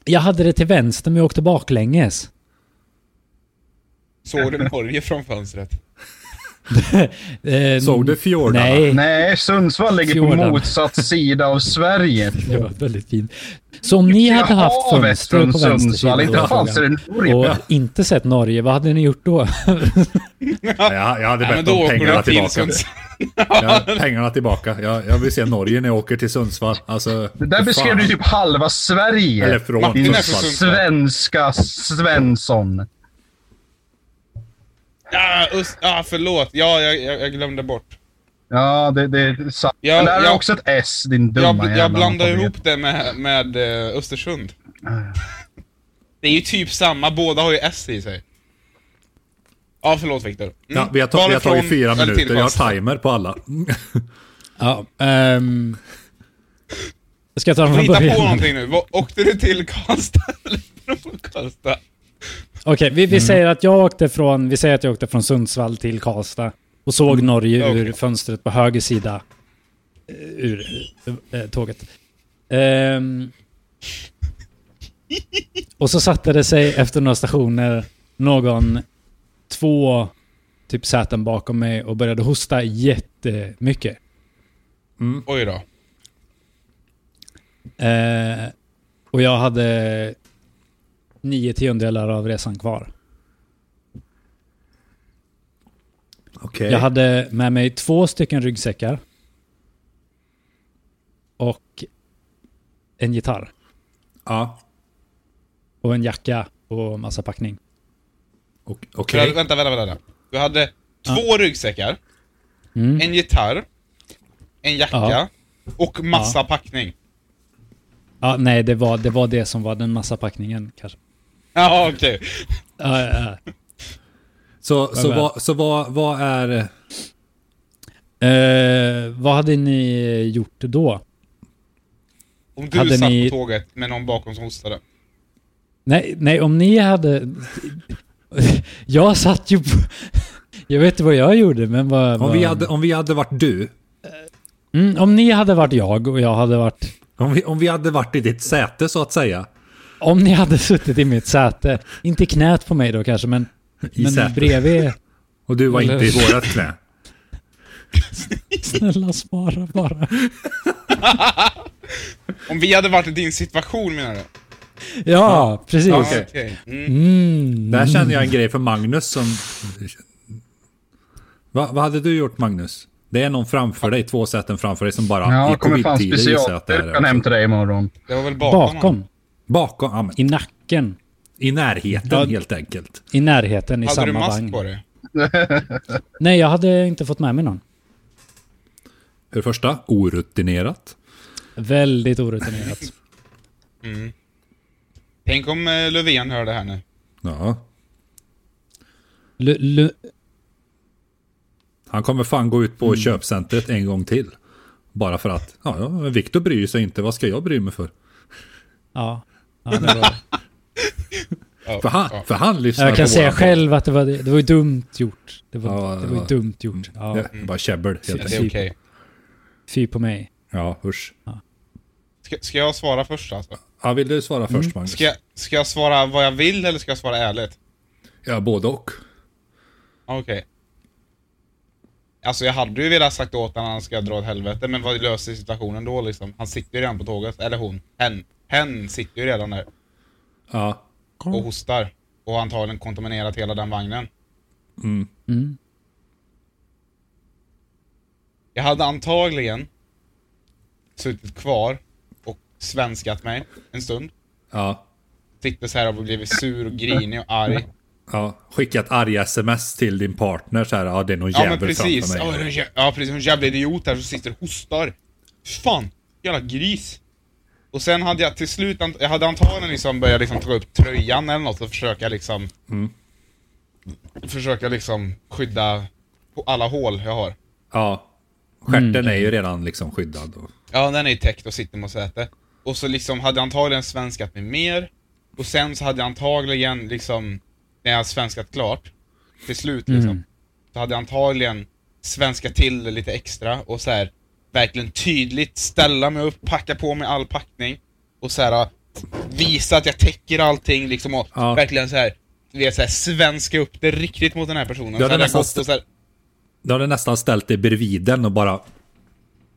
Speaker 4: Jag hade det till vänster, men jag åkte baklänges.
Speaker 3: Såg du Norge från fönstret?
Speaker 4: Eh,
Speaker 2: Såg du fjordarna?
Speaker 4: Nej.
Speaker 1: Nej, Sundsvall ligger på
Speaker 4: Fjorden.
Speaker 1: motsatt sida av Sverige.
Speaker 4: Det var väldigt fint. Så om ni hade haft
Speaker 1: Havet
Speaker 4: fönster på
Speaker 1: från
Speaker 4: vänster
Speaker 1: Sundsvall.
Speaker 4: sida
Speaker 1: Inte
Speaker 4: av
Speaker 1: fanns det
Speaker 4: frågan,
Speaker 1: Norge.
Speaker 4: och inte sett Norge, vad hade ni gjort då?
Speaker 2: Ja, jag, jag hade
Speaker 3: Nej,
Speaker 2: bett
Speaker 3: men då
Speaker 2: om
Speaker 3: åker
Speaker 2: pengarna
Speaker 3: du till
Speaker 2: tillbaka.
Speaker 3: Sundsvall.
Speaker 2: Jag, pengarna tillbaka. Jag, jag vill se Norge när jag åker till Sundsvall. Alltså,
Speaker 1: Det där beskrev du typ halva Sverige.
Speaker 2: Eller från
Speaker 3: Martin är från
Speaker 2: Sundsvall.
Speaker 3: Sundsvall.
Speaker 1: Svenska Svensson.
Speaker 3: Ja, öst, ja, förlåt. Ja, jag, jag, jag glömde bort.
Speaker 1: Ja, det, det är sant.
Speaker 3: Ja,
Speaker 1: det där är
Speaker 3: ja.
Speaker 1: också ett S, din dumma
Speaker 3: Jag, jag
Speaker 1: jävla
Speaker 3: blandar
Speaker 1: analfabet.
Speaker 3: ihop det med, med eh, Östersund.
Speaker 2: Ah,
Speaker 3: Det är ju typ samma, båda har ju S i sig. Ja, förlåt Viktor. Mm.
Speaker 2: Ja, vi har, ta,
Speaker 3: Var
Speaker 2: vi
Speaker 3: det
Speaker 2: har tagit
Speaker 3: från-
Speaker 2: fyra
Speaker 3: eller till
Speaker 2: minuter. Jag
Speaker 3: fast?
Speaker 2: har timer på alla.
Speaker 4: Ja, ehm, ska jag ta den
Speaker 3: Får
Speaker 4: från
Speaker 3: hitta på
Speaker 4: början? Okej,
Speaker 3: någonting nu. Vad- Åkte du till Karlstad eller från Karlstad?
Speaker 4: vi, vi säger att jag åkte från, vi säger att jag åkte från Sundsvall till Karlstad och såg Norge
Speaker 3: Okej.
Speaker 4: ur fönstret på höger sida eh, ur eh, tåget. Ehm, och så satte det sig efter några stationer någon två typ säten bakom mig och började hosta jättemycket.
Speaker 3: Oj då.
Speaker 4: Eh, och jag hade nio tiondelar av resan kvar.
Speaker 2: Okej.
Speaker 4: Jag hade med mig två stycken ryggsäckar. Och en gitarr.
Speaker 2: Ja.
Speaker 4: Och en jacka och massa packning.
Speaker 2: ok-
Speaker 3: Du
Speaker 2: Okej.
Speaker 3: hade, vänta, vänta, vänta. Du hade två ryggsäckar,
Speaker 4: Mm.
Speaker 3: en gitarr, en jacka
Speaker 4: Ja.
Speaker 3: och massa packning.
Speaker 4: Ja, nej, det var, det var det som var den massa packningen kanske.
Speaker 3: Ja, okej.
Speaker 4: Ja, ja, ja.
Speaker 2: Så, så,
Speaker 4: väl.
Speaker 2: vad, så vad, vad är...
Speaker 4: Eh, vad hade ni gjort då?
Speaker 3: Om du
Speaker 4: Hade
Speaker 3: satt
Speaker 4: ni-
Speaker 3: på tåget med någon bakom som hostade.
Speaker 4: Nej, nej, om ni hade... Jag satt ju på... Jag vet inte vad jag gjorde, men vad...
Speaker 2: Om
Speaker 4: vad...
Speaker 2: vi hade, om vi hade varit du.
Speaker 4: Mm, om ni hade varit jag och jag hade varit...
Speaker 2: Om vi, om vi hade varit i ditt säte så att säga.
Speaker 4: Om ni hade suttit i mitt säte, inte i knät på mig då kanske, men,
Speaker 2: I
Speaker 4: men
Speaker 2: sätet.
Speaker 4: bredvid...
Speaker 2: Och du var
Speaker 4: Eller-
Speaker 2: inte i vårat knä.
Speaker 4: Snälla svara bara.
Speaker 3: Om vi hade varit i din situation menar du?
Speaker 4: Ja, precis.
Speaker 3: Ja,
Speaker 2: Okej.
Speaker 3: okej. Mm.
Speaker 4: Mm.
Speaker 2: Där känner jag en grej för Magnus som... Va, vad hade du gjort Magnus? Det är någon framför dig, två säten framför dig som bara...
Speaker 1: Ja,
Speaker 2: i
Speaker 1: det kommer fan
Speaker 2: covid-tider gissar jag att det är.
Speaker 1: specialstyrkan hem till dig imorgon.
Speaker 3: Det var väl bakom? honom.
Speaker 4: Bakom.
Speaker 2: Bakom, ja, men,
Speaker 4: I nacken.
Speaker 2: i närheten
Speaker 4: Ja.
Speaker 2: helt enkelt.
Speaker 4: I närheten, i
Speaker 3: Hade du
Speaker 4: samma
Speaker 3: mask
Speaker 4: vagn.
Speaker 3: på dig?
Speaker 4: Nej, jag hade inte fått med mig någon.
Speaker 2: För det första, orutinerat.
Speaker 4: Väldigt orutinerat.
Speaker 3: Tänk om eh, Löfven hör det här nu.
Speaker 2: Ja.
Speaker 4: Lu- lu-
Speaker 2: Han kommer fan gå ut på
Speaker 3: Mm.
Speaker 2: köpcentret en gång till. Bara för att, ja, ja men Viktor bryr sig inte, vad ska jag bry mig för?
Speaker 4: ja. ja det var...
Speaker 3: Ja,
Speaker 2: För han,
Speaker 3: ja.
Speaker 2: för han lyssnar
Speaker 4: Jag kan
Speaker 2: på
Speaker 4: säga
Speaker 2: våran
Speaker 4: själv att det var, det var ju dumt gjort. Det var,
Speaker 2: Ja,
Speaker 4: det var ju
Speaker 2: ja.
Speaker 4: dumt gjort.
Speaker 2: podd.
Speaker 4: Ja,
Speaker 2: Ja, bara käbbel helt
Speaker 4: Shit.
Speaker 3: Det
Speaker 2: enkelt.
Speaker 3: är okej.
Speaker 4: fy på mig.
Speaker 2: Ja, usch.
Speaker 3: Ska, ska jag svara först alltså?
Speaker 2: Ja, vill du svara först Magnus?
Speaker 3: Mm. Ska jag, ska jag svara vad jag vill eller ska jag svara ärligt?
Speaker 2: Ja, både och.
Speaker 3: Okej. Alltså jag hade ju velat sagt åt honom att han ska dra åt helvete, men vad löser situationen då liksom? Han sitter ju redan på tåget, eller hon. Hen. Hen sitter ju redan där
Speaker 2: Ja.
Speaker 3: och hostar. Och antagligen kontaminerat hela den vagnen.
Speaker 2: Mm.
Speaker 4: Mm.
Speaker 3: Jag hade antagligen suttit kvar och svenskat mig en stund.
Speaker 2: Ja.
Speaker 3: Sitter så här och blivit sur och grinig och arg.
Speaker 2: Ja, skicka ett arga sms till din partner så här, ja det är någon
Speaker 3: Ja men
Speaker 2: jävel
Speaker 3: precis. Ja,
Speaker 2: framför
Speaker 3: det är en
Speaker 2: mig.
Speaker 3: jä- ja precis, en jävla idiot här som sitter och hostar. Fan, jävla gris. Och sen hade jag till slut, ant- jag hade antagligen liksom börjat liksom ta upp tröjan eller något och försöka liksom...
Speaker 2: Mm.
Speaker 3: Försöka liksom skydda på alla hål jag har.
Speaker 2: Ja. Stjärten
Speaker 4: Mm.
Speaker 2: är ju redan liksom skyddad. Och,
Speaker 3: Ja, den är ju täckt och sitter mot sätet. Och så liksom hade jag antagligen svenskat med mer. Och sen så hade jag antagligen liksom, när jag svenskat klart, till slut
Speaker 2: Mm.
Speaker 3: liksom, så hade jag antagligen svenskat till det lite extra och så här verkligen tydligt ställa mig upp, packa på mig all packning och så här visa att jag täcker allting liksom och
Speaker 2: Ja.
Speaker 3: verkligen så här, du vet, så här svenska upp det riktigt mot den här personen.
Speaker 2: hade
Speaker 3: så hade jag
Speaker 2: nästan
Speaker 3: gått och så här,
Speaker 2: då har du nästan ställt dig bredvid den och bara...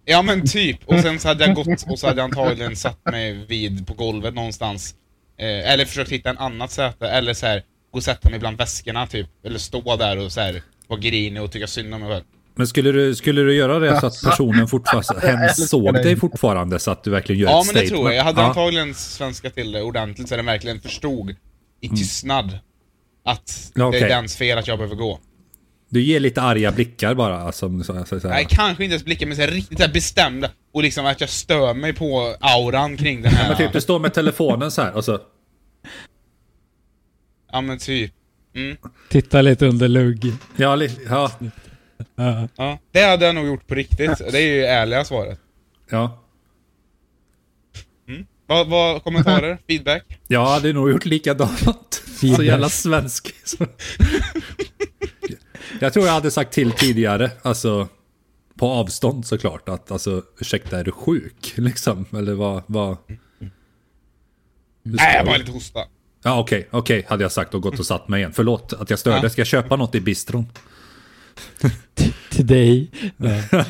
Speaker 3: Ja men typ, och sen så hade jag gått och så hade jag antagligen satt mig vid på golvet någonstans. Eh, eller försökt hitta en annat säte, eller så här gå och sätta mig bland väskorna typ. Eller stå där och så här vara grinig och tycka synd om mig själv.
Speaker 2: Men skulle du, skulle du göra det så att personen fortfarande hen såg dig fortfarande så att du verkligen gör
Speaker 3: Ja
Speaker 2: ett
Speaker 3: men det
Speaker 2: statement?
Speaker 3: tror jag. Jag hade
Speaker 2: Ja.
Speaker 3: antagligen svenska till det ordentligt så den verkligen förstod i tystnad att
Speaker 2: Ja,
Speaker 3: det
Speaker 2: Mm. okej.
Speaker 3: är dens fel att jag behöver gå.
Speaker 2: Du ger lite arga blickar bara. Som, så, så, så, här.
Speaker 3: Nej, kanske inte ens blicken men så här, riktigt så här bestämda och liksom att jag stör mig på auran kring den här.
Speaker 2: Men typ, du står med telefonen så här och så...
Speaker 3: Ja men typ. Mm.
Speaker 4: Titta lite under lugg.
Speaker 2: Ja, li, ja,
Speaker 4: Ja.
Speaker 3: Ja. Det hade jag nog gjort på riktigt. Det är ju ärliga svaret.
Speaker 2: ja.
Speaker 3: Vad, vad, kommentarer? Feedback?
Speaker 2: Jag hade nog gjort likadant. Så jävla svensk. Så- jag tror jag hade sagt till tidigare, alltså på avstånd såklart, att alltså ursäkta är du sjuk? Liksom, eller vad... vad...
Speaker 3: Nej, jag bara lite hosta.
Speaker 2: Ja okej, okej hade jag sagt och gått och satt mig igen. Förlåt att jag störde, ska jag köpa något i bistron?
Speaker 4: Till dig. Ja. Ja.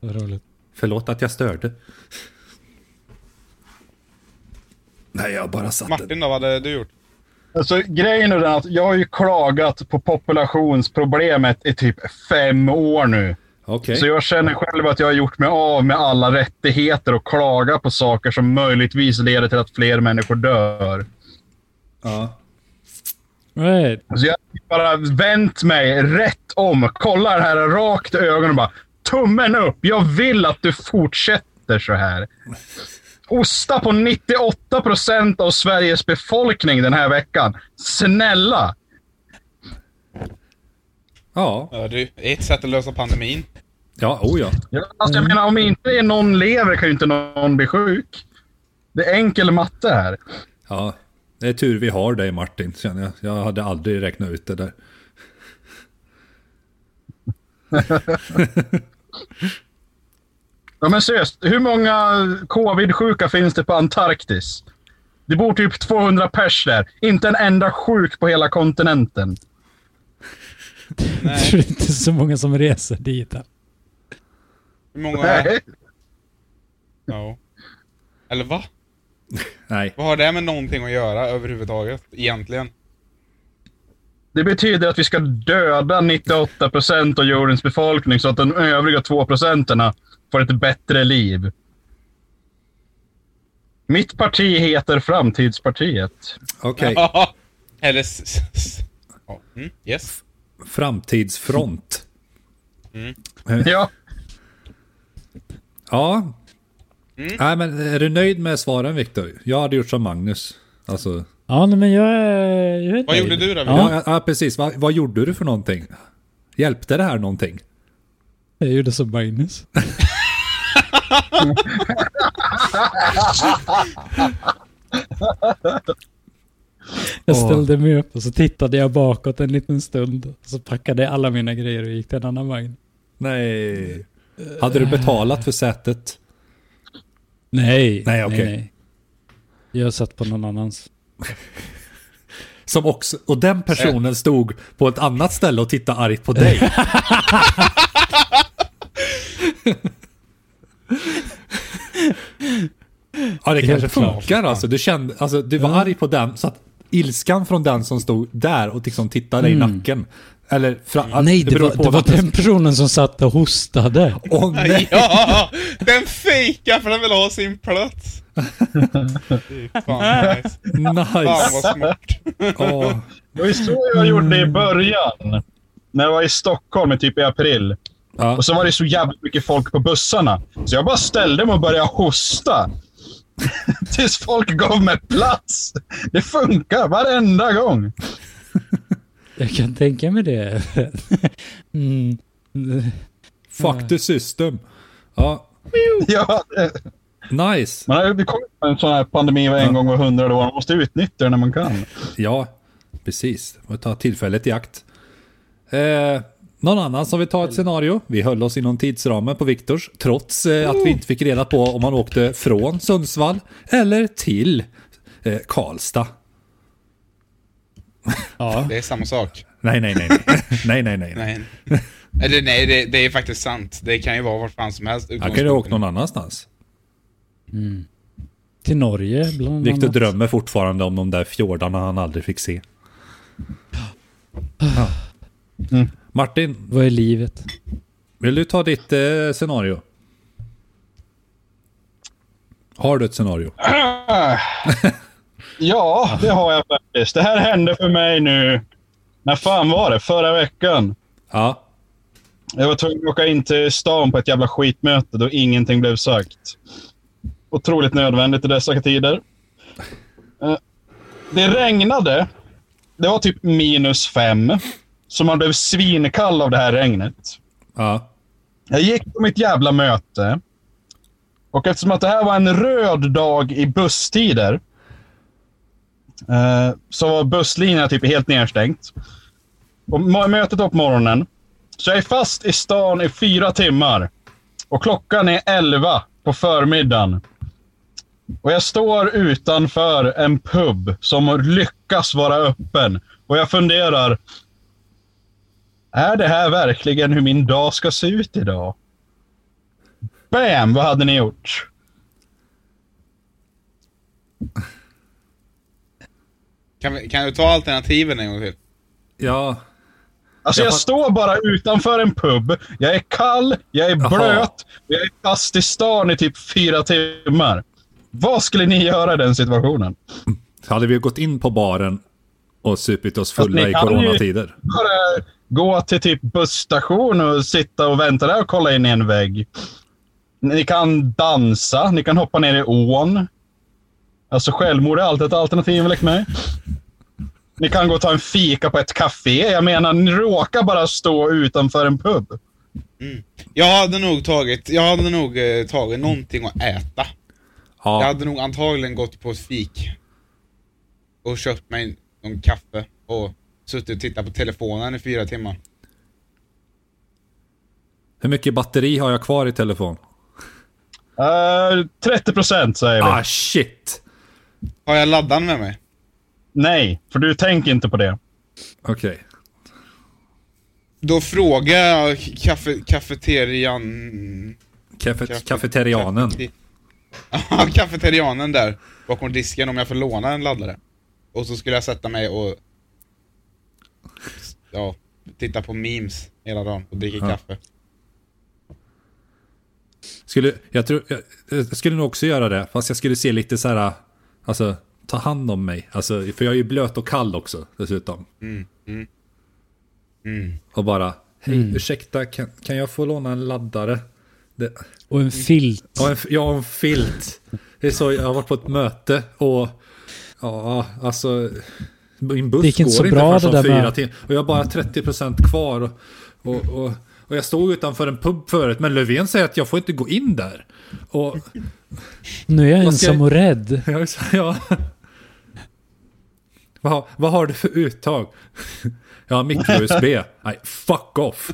Speaker 4: Vad roligt.
Speaker 2: Förlåt att jag störde. Nej jag bara satt en-
Speaker 3: Martin då, vad hade du gjort?
Speaker 1: Alltså, grejen är den att jag har ju klagat på populationsproblemet i typ fem år nu.
Speaker 2: Okej.
Speaker 1: Så jag känner själv att jag har gjort mig av med alla rättigheter och klaga på saker som möjligtvis leder till att fler människor dör.
Speaker 2: Ja.
Speaker 4: Right.
Speaker 1: Så Alltså, jag har bara vänt mig rätt om, kollar här rakt i ögonen och bara tummen upp. Jag vill att du fortsätter så här. Osta på 98 procent av Sveriges befolkning den här veckan. Snälla!
Speaker 2: Ja.
Speaker 3: Ja, du, ett sätt att lösa pandemin.
Speaker 2: Ja, oh ja.
Speaker 1: Ja, Alltså, jag menar, om inte någon lever kan ju inte någon bli sjuk. Det är enkel matte här.
Speaker 2: Ja, det är tur vi har dig Martin, känner jag. Jag hade aldrig räknat ut det där.
Speaker 1: Ja, men seriöst, hur många covid-sjuka finns det på Antarktis? Det bor typ 200 pers där. Inte en enda sjuk på hela kontinenten.
Speaker 4: Jag tror inte så många som reser dit. här.
Speaker 3: Hur många...
Speaker 1: Nej.
Speaker 3: Ja. Eller va?
Speaker 2: Nej,
Speaker 3: Vad har det med någonting att göra överhuvudtaget, egentligen?
Speaker 1: Det betyder att vi ska döda 98 procent av jordens befolkning så att de övriga 2 procenterna får ett bättre liv. Mitt parti heter Framtidspartiet.
Speaker 2: okej.
Speaker 3: Eller... s- s- s- Ja. Mm, yes.
Speaker 2: Framtidsfront.
Speaker 1: Ja,
Speaker 2: Ja. Nej, men är du nöjd med svaren Viktor? Jag hade gjort som Magnus. Alltså,
Speaker 4: Ja, nej, men jag är... Jag är
Speaker 3: Vad
Speaker 4: nöjd.
Speaker 3: gjorde du då?
Speaker 4: Ja.
Speaker 3: Ja.
Speaker 2: ja, ja precis. Va, vad gjorde du för någonting? Hjälpte det här någonting?
Speaker 4: Jag gjorde som Magnus. jag ställde mig upp och så tittade jag bakåt en liten stund. Så packade jag alla mina grejer och gick till en annan vagn.
Speaker 2: Nej. Eh, Hade du betalat för sätet?
Speaker 4: Nej.
Speaker 2: Nej, okej.
Speaker 4: nej. Jag satt på någon annans.
Speaker 2: Som också, och den
Speaker 4: Eh.
Speaker 2: personen stod på ett annat ställe och tittade argt på dig. ja, det kanske
Speaker 4: klart.
Speaker 2: funkar alltså. Du, kände, alltså. du var arg på den, så att ilskan från den som stod där och liksom tittade dig i nacken. Eller fra,
Speaker 4: Mm. Nej, det
Speaker 2: beror
Speaker 4: var,
Speaker 2: på
Speaker 4: det var
Speaker 2: vad du-
Speaker 4: den personen som satt och hostade.
Speaker 2: Åh nej!
Speaker 3: ja! Den fejkar för den vill ha sin plats! Fy Fan, nice. Fan
Speaker 2: Nice!
Speaker 3: vad smart.
Speaker 2: Åh.
Speaker 1: det var ju så jag gjorde i början. När jag var i Stockholm i typ i april.
Speaker 2: Ja.
Speaker 1: Och så var det så jävligt mycket folk på bussarna. Så jag bara ställde mig och började hosta. Tills folk gav mig plats. Det funkar varenda gång.
Speaker 4: Jag kan tänka mig det. mm.
Speaker 2: Fuck the system. Ja,
Speaker 1: Ja, det-
Speaker 2: nice.
Speaker 1: man har eh, ju kommit på en sån här pandemi var en gång var hundrade år. Man måste utnyttja det när man kan.
Speaker 2: Ja, precis. Man tar tillfället i akt. Eh, någon annan som vill ta ett scenario? Vi höll oss inom tidsramen på Viktors, trots eh, att vi inte fick reda på om han åkte från Sundsvall eller till eh, Karlstad.
Speaker 4: Ja.
Speaker 3: Det är samma sak.
Speaker 2: Nej, nej, nej. Nej, nej, nej. nej.
Speaker 3: Nej. Eller nej, det, det är faktiskt sant. Det kan ju vara vart fan som helst.
Speaker 2: Han kunde ha åkt någon annanstans.
Speaker 4: Till Norge bland
Speaker 2: Viktor
Speaker 4: annat.
Speaker 2: drömmer fortfarande om de där fjordarna han aldrig fick se. Ja. Martin,
Speaker 4: Vad är livet?
Speaker 2: vill du ta ditt eh, scenario? Har du ett scenario?
Speaker 1: Ja, det har jag faktiskt. Det här hände för mig nu. När fan var det? Förra veckan.
Speaker 2: Ja.
Speaker 1: Jag var tvungen att åka in till stan på ett jävla skitmöte då ingenting blev sagt. Otroligt nödvändigt i dessa tider. Eh, Det regnade. Det var typ minus fem. Så man blev svinkall av det här regnet.
Speaker 2: Ja.
Speaker 1: Jag gick på mitt jävla möte. Och eftersom att det här var en röd dag i busstider eh, så var busslinjerna typ helt nerstängt. Och må- mötet var på morgonen. Så jag är fast i stan i fyra timmar. Och klockan är elva på förmiddagen. Och jag står utanför en pub som lyckas vara öppen. Och jag funderar, är det här verkligen hur min dag ska se ut idag? Bam! Vad hade ni gjort?
Speaker 3: Kan, vi- kan du ta alternativen en gång till?
Speaker 2: Ja.
Speaker 1: Alltså
Speaker 2: Jag
Speaker 1: jag,
Speaker 2: fatt-
Speaker 1: står bara utanför en pub. Jag är kall, jag är
Speaker 2: Jaha.
Speaker 1: blöt och jag är fast i stan i typ fyra timmar. Vad skulle ni göra i den situationen?
Speaker 2: Hade vi gått in på baren och supit oss fulla
Speaker 1: Fast ni
Speaker 2: i
Speaker 1: kan ju-
Speaker 2: coronatider.
Speaker 1: Bara gå till typ busstation och sitta och vänta där och kolla in i en vägg. Ni kan dansa, ni kan hoppa ner i ån. Alltså självmord är alltid ett alternativ, lek med. Ni kan gå och ta en fika på ett café. Jag menar, ni råkar bara stå utanför en pub.
Speaker 3: Jag hade nog tagit, jag hade nog eh, tagit någonting att äta. Jag
Speaker 2: Ja.
Speaker 3: hade nog antagligen gått på ett fik. Och köpt mig någon kaffe och suttit och tittat på telefonen i fyra timmar.
Speaker 2: Hur mycket batteri har jag kvar i telefon?
Speaker 1: Eh, 30 procent säger vi.
Speaker 2: Ah shit!
Speaker 3: Har jag laddaren med mig?
Speaker 1: Nej, för du tänker inte på det.
Speaker 2: Okej.
Speaker 3: Då frågar jag kaffe, kafeterian...
Speaker 2: Kafe- kafeterianen.
Speaker 3: Ja, kafeterianen där bakom disken om jag får låna en laddare. Och så skulle jag sätta mig och... Ja, titta på memes hela dagen och dricka kaffe.
Speaker 2: Skulle, jag, tror, jag, jag skulle nog också göra det. Fast jag skulle se lite så här. Alltså, ta hand om mig. Alltså, för jag är ju blöt och kall också dessutom. Och bara, hej ursäkta, kan, kan jag få låna en laddare? Det,
Speaker 4: Och en filt.
Speaker 2: Ja, en, ja, en filt. Det är så, jag har varit på ett möte och ja, alltså min buss
Speaker 4: Det gick
Speaker 2: går
Speaker 4: inte så
Speaker 2: inte
Speaker 4: bra
Speaker 2: förrän
Speaker 4: det
Speaker 2: om
Speaker 4: där
Speaker 2: fyra
Speaker 4: med-
Speaker 2: timmar. Och jag har bara 30% kvar. Och, och, och, och jag stod utanför en pub förut, men Löfven säger att jag får inte gå in där. Och
Speaker 4: Nu är jag
Speaker 2: Vad ska
Speaker 4: ensam
Speaker 2: jag-
Speaker 4: och rädd.
Speaker 2: jag sa, ja. Vad, vad har du för uttag? Jag har mikro-USB. Nej, fuck off.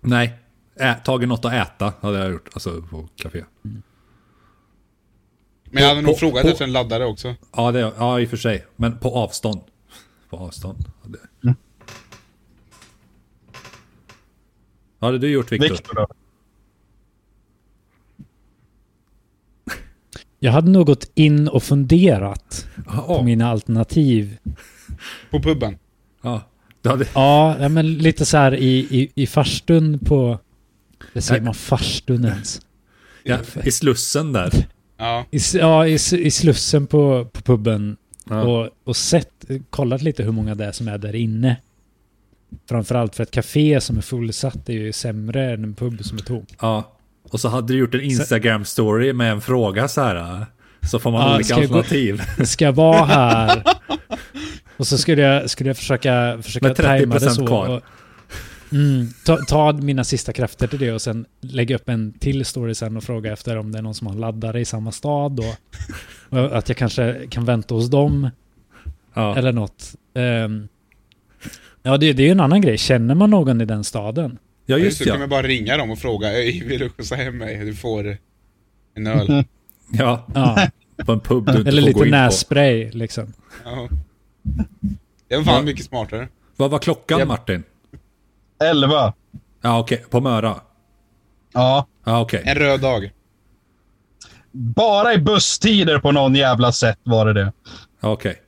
Speaker 2: Nej, ä, tagit något att äta hade jag gjort. Alltså på café.
Speaker 3: Men jag hade nog
Speaker 2: på-
Speaker 3: frågat
Speaker 2: på-
Speaker 3: efter en laddare också.
Speaker 2: Ja, det, ja, i och för sig. Men på avstånd. På avstånd. Ja, det- Vad hade du gjort, Viktor?
Speaker 1: Viktor då?
Speaker 4: Jag hade nog gått in och funderat på
Speaker 2: Ja,
Speaker 4: mina alternativ.
Speaker 3: På puben.
Speaker 2: ja, du hade,
Speaker 4: Ja, ja, men lite så här i, i, i farstun på... Det säger man farstun ens?
Speaker 2: ja, I Slussen där.
Speaker 3: Ja.
Speaker 4: I, s- ja, i, s- i Slussen på, på puben
Speaker 2: Ja.
Speaker 4: och, och sett, kollat lite hur många det är som är där inne. Framförallt för ett café som är fullsatt är ju sämre än en pub som är tom.
Speaker 2: Ja. Och så hade du gjort en Instagram-story med en fråga så här. Så får man
Speaker 4: Ja,
Speaker 2: olika
Speaker 4: ska jag gå-
Speaker 2: alternativ.
Speaker 4: Ska jag vara här? Och så skulle jag, skulle jag försöka, försöka
Speaker 2: Med 30%
Speaker 4: tajma det så.
Speaker 2: kvar.
Speaker 4: Och, mm, ta, ta mina sista krafter till det och sen lägga upp en till story sen och fråga efter om det är någon som har laddare i samma stad då. Och att jag kanske kan vänta hos dem
Speaker 2: Ja.
Speaker 4: eller något. Ehm, ja, det, det är ju en annan grej. Känner man någon i den staden?
Speaker 2: ja,
Speaker 3: Ja,
Speaker 2: just
Speaker 3: just det, kan
Speaker 2: ja.
Speaker 3: man bara ringa dem och fråga Ey, vill du skjutsa hem mig? Du får en öl.
Speaker 2: Ja,
Speaker 4: Ja,
Speaker 2: på en pub du inte
Speaker 4: eller
Speaker 2: får gå in
Speaker 4: lite
Speaker 2: på.
Speaker 4: nässpray liksom.
Speaker 3: Ja. Det var fan
Speaker 2: Ja.
Speaker 3: mycket smartare.
Speaker 2: Vad var klockan
Speaker 1: Japp.
Speaker 2: Martin?
Speaker 1: Elva.
Speaker 2: Ja okej, på Möra.
Speaker 1: Ja.
Speaker 2: Ja okej.
Speaker 3: En röd dag.
Speaker 1: Bara i busstider på någon jävla sätt var det det.
Speaker 2: Ja, okej.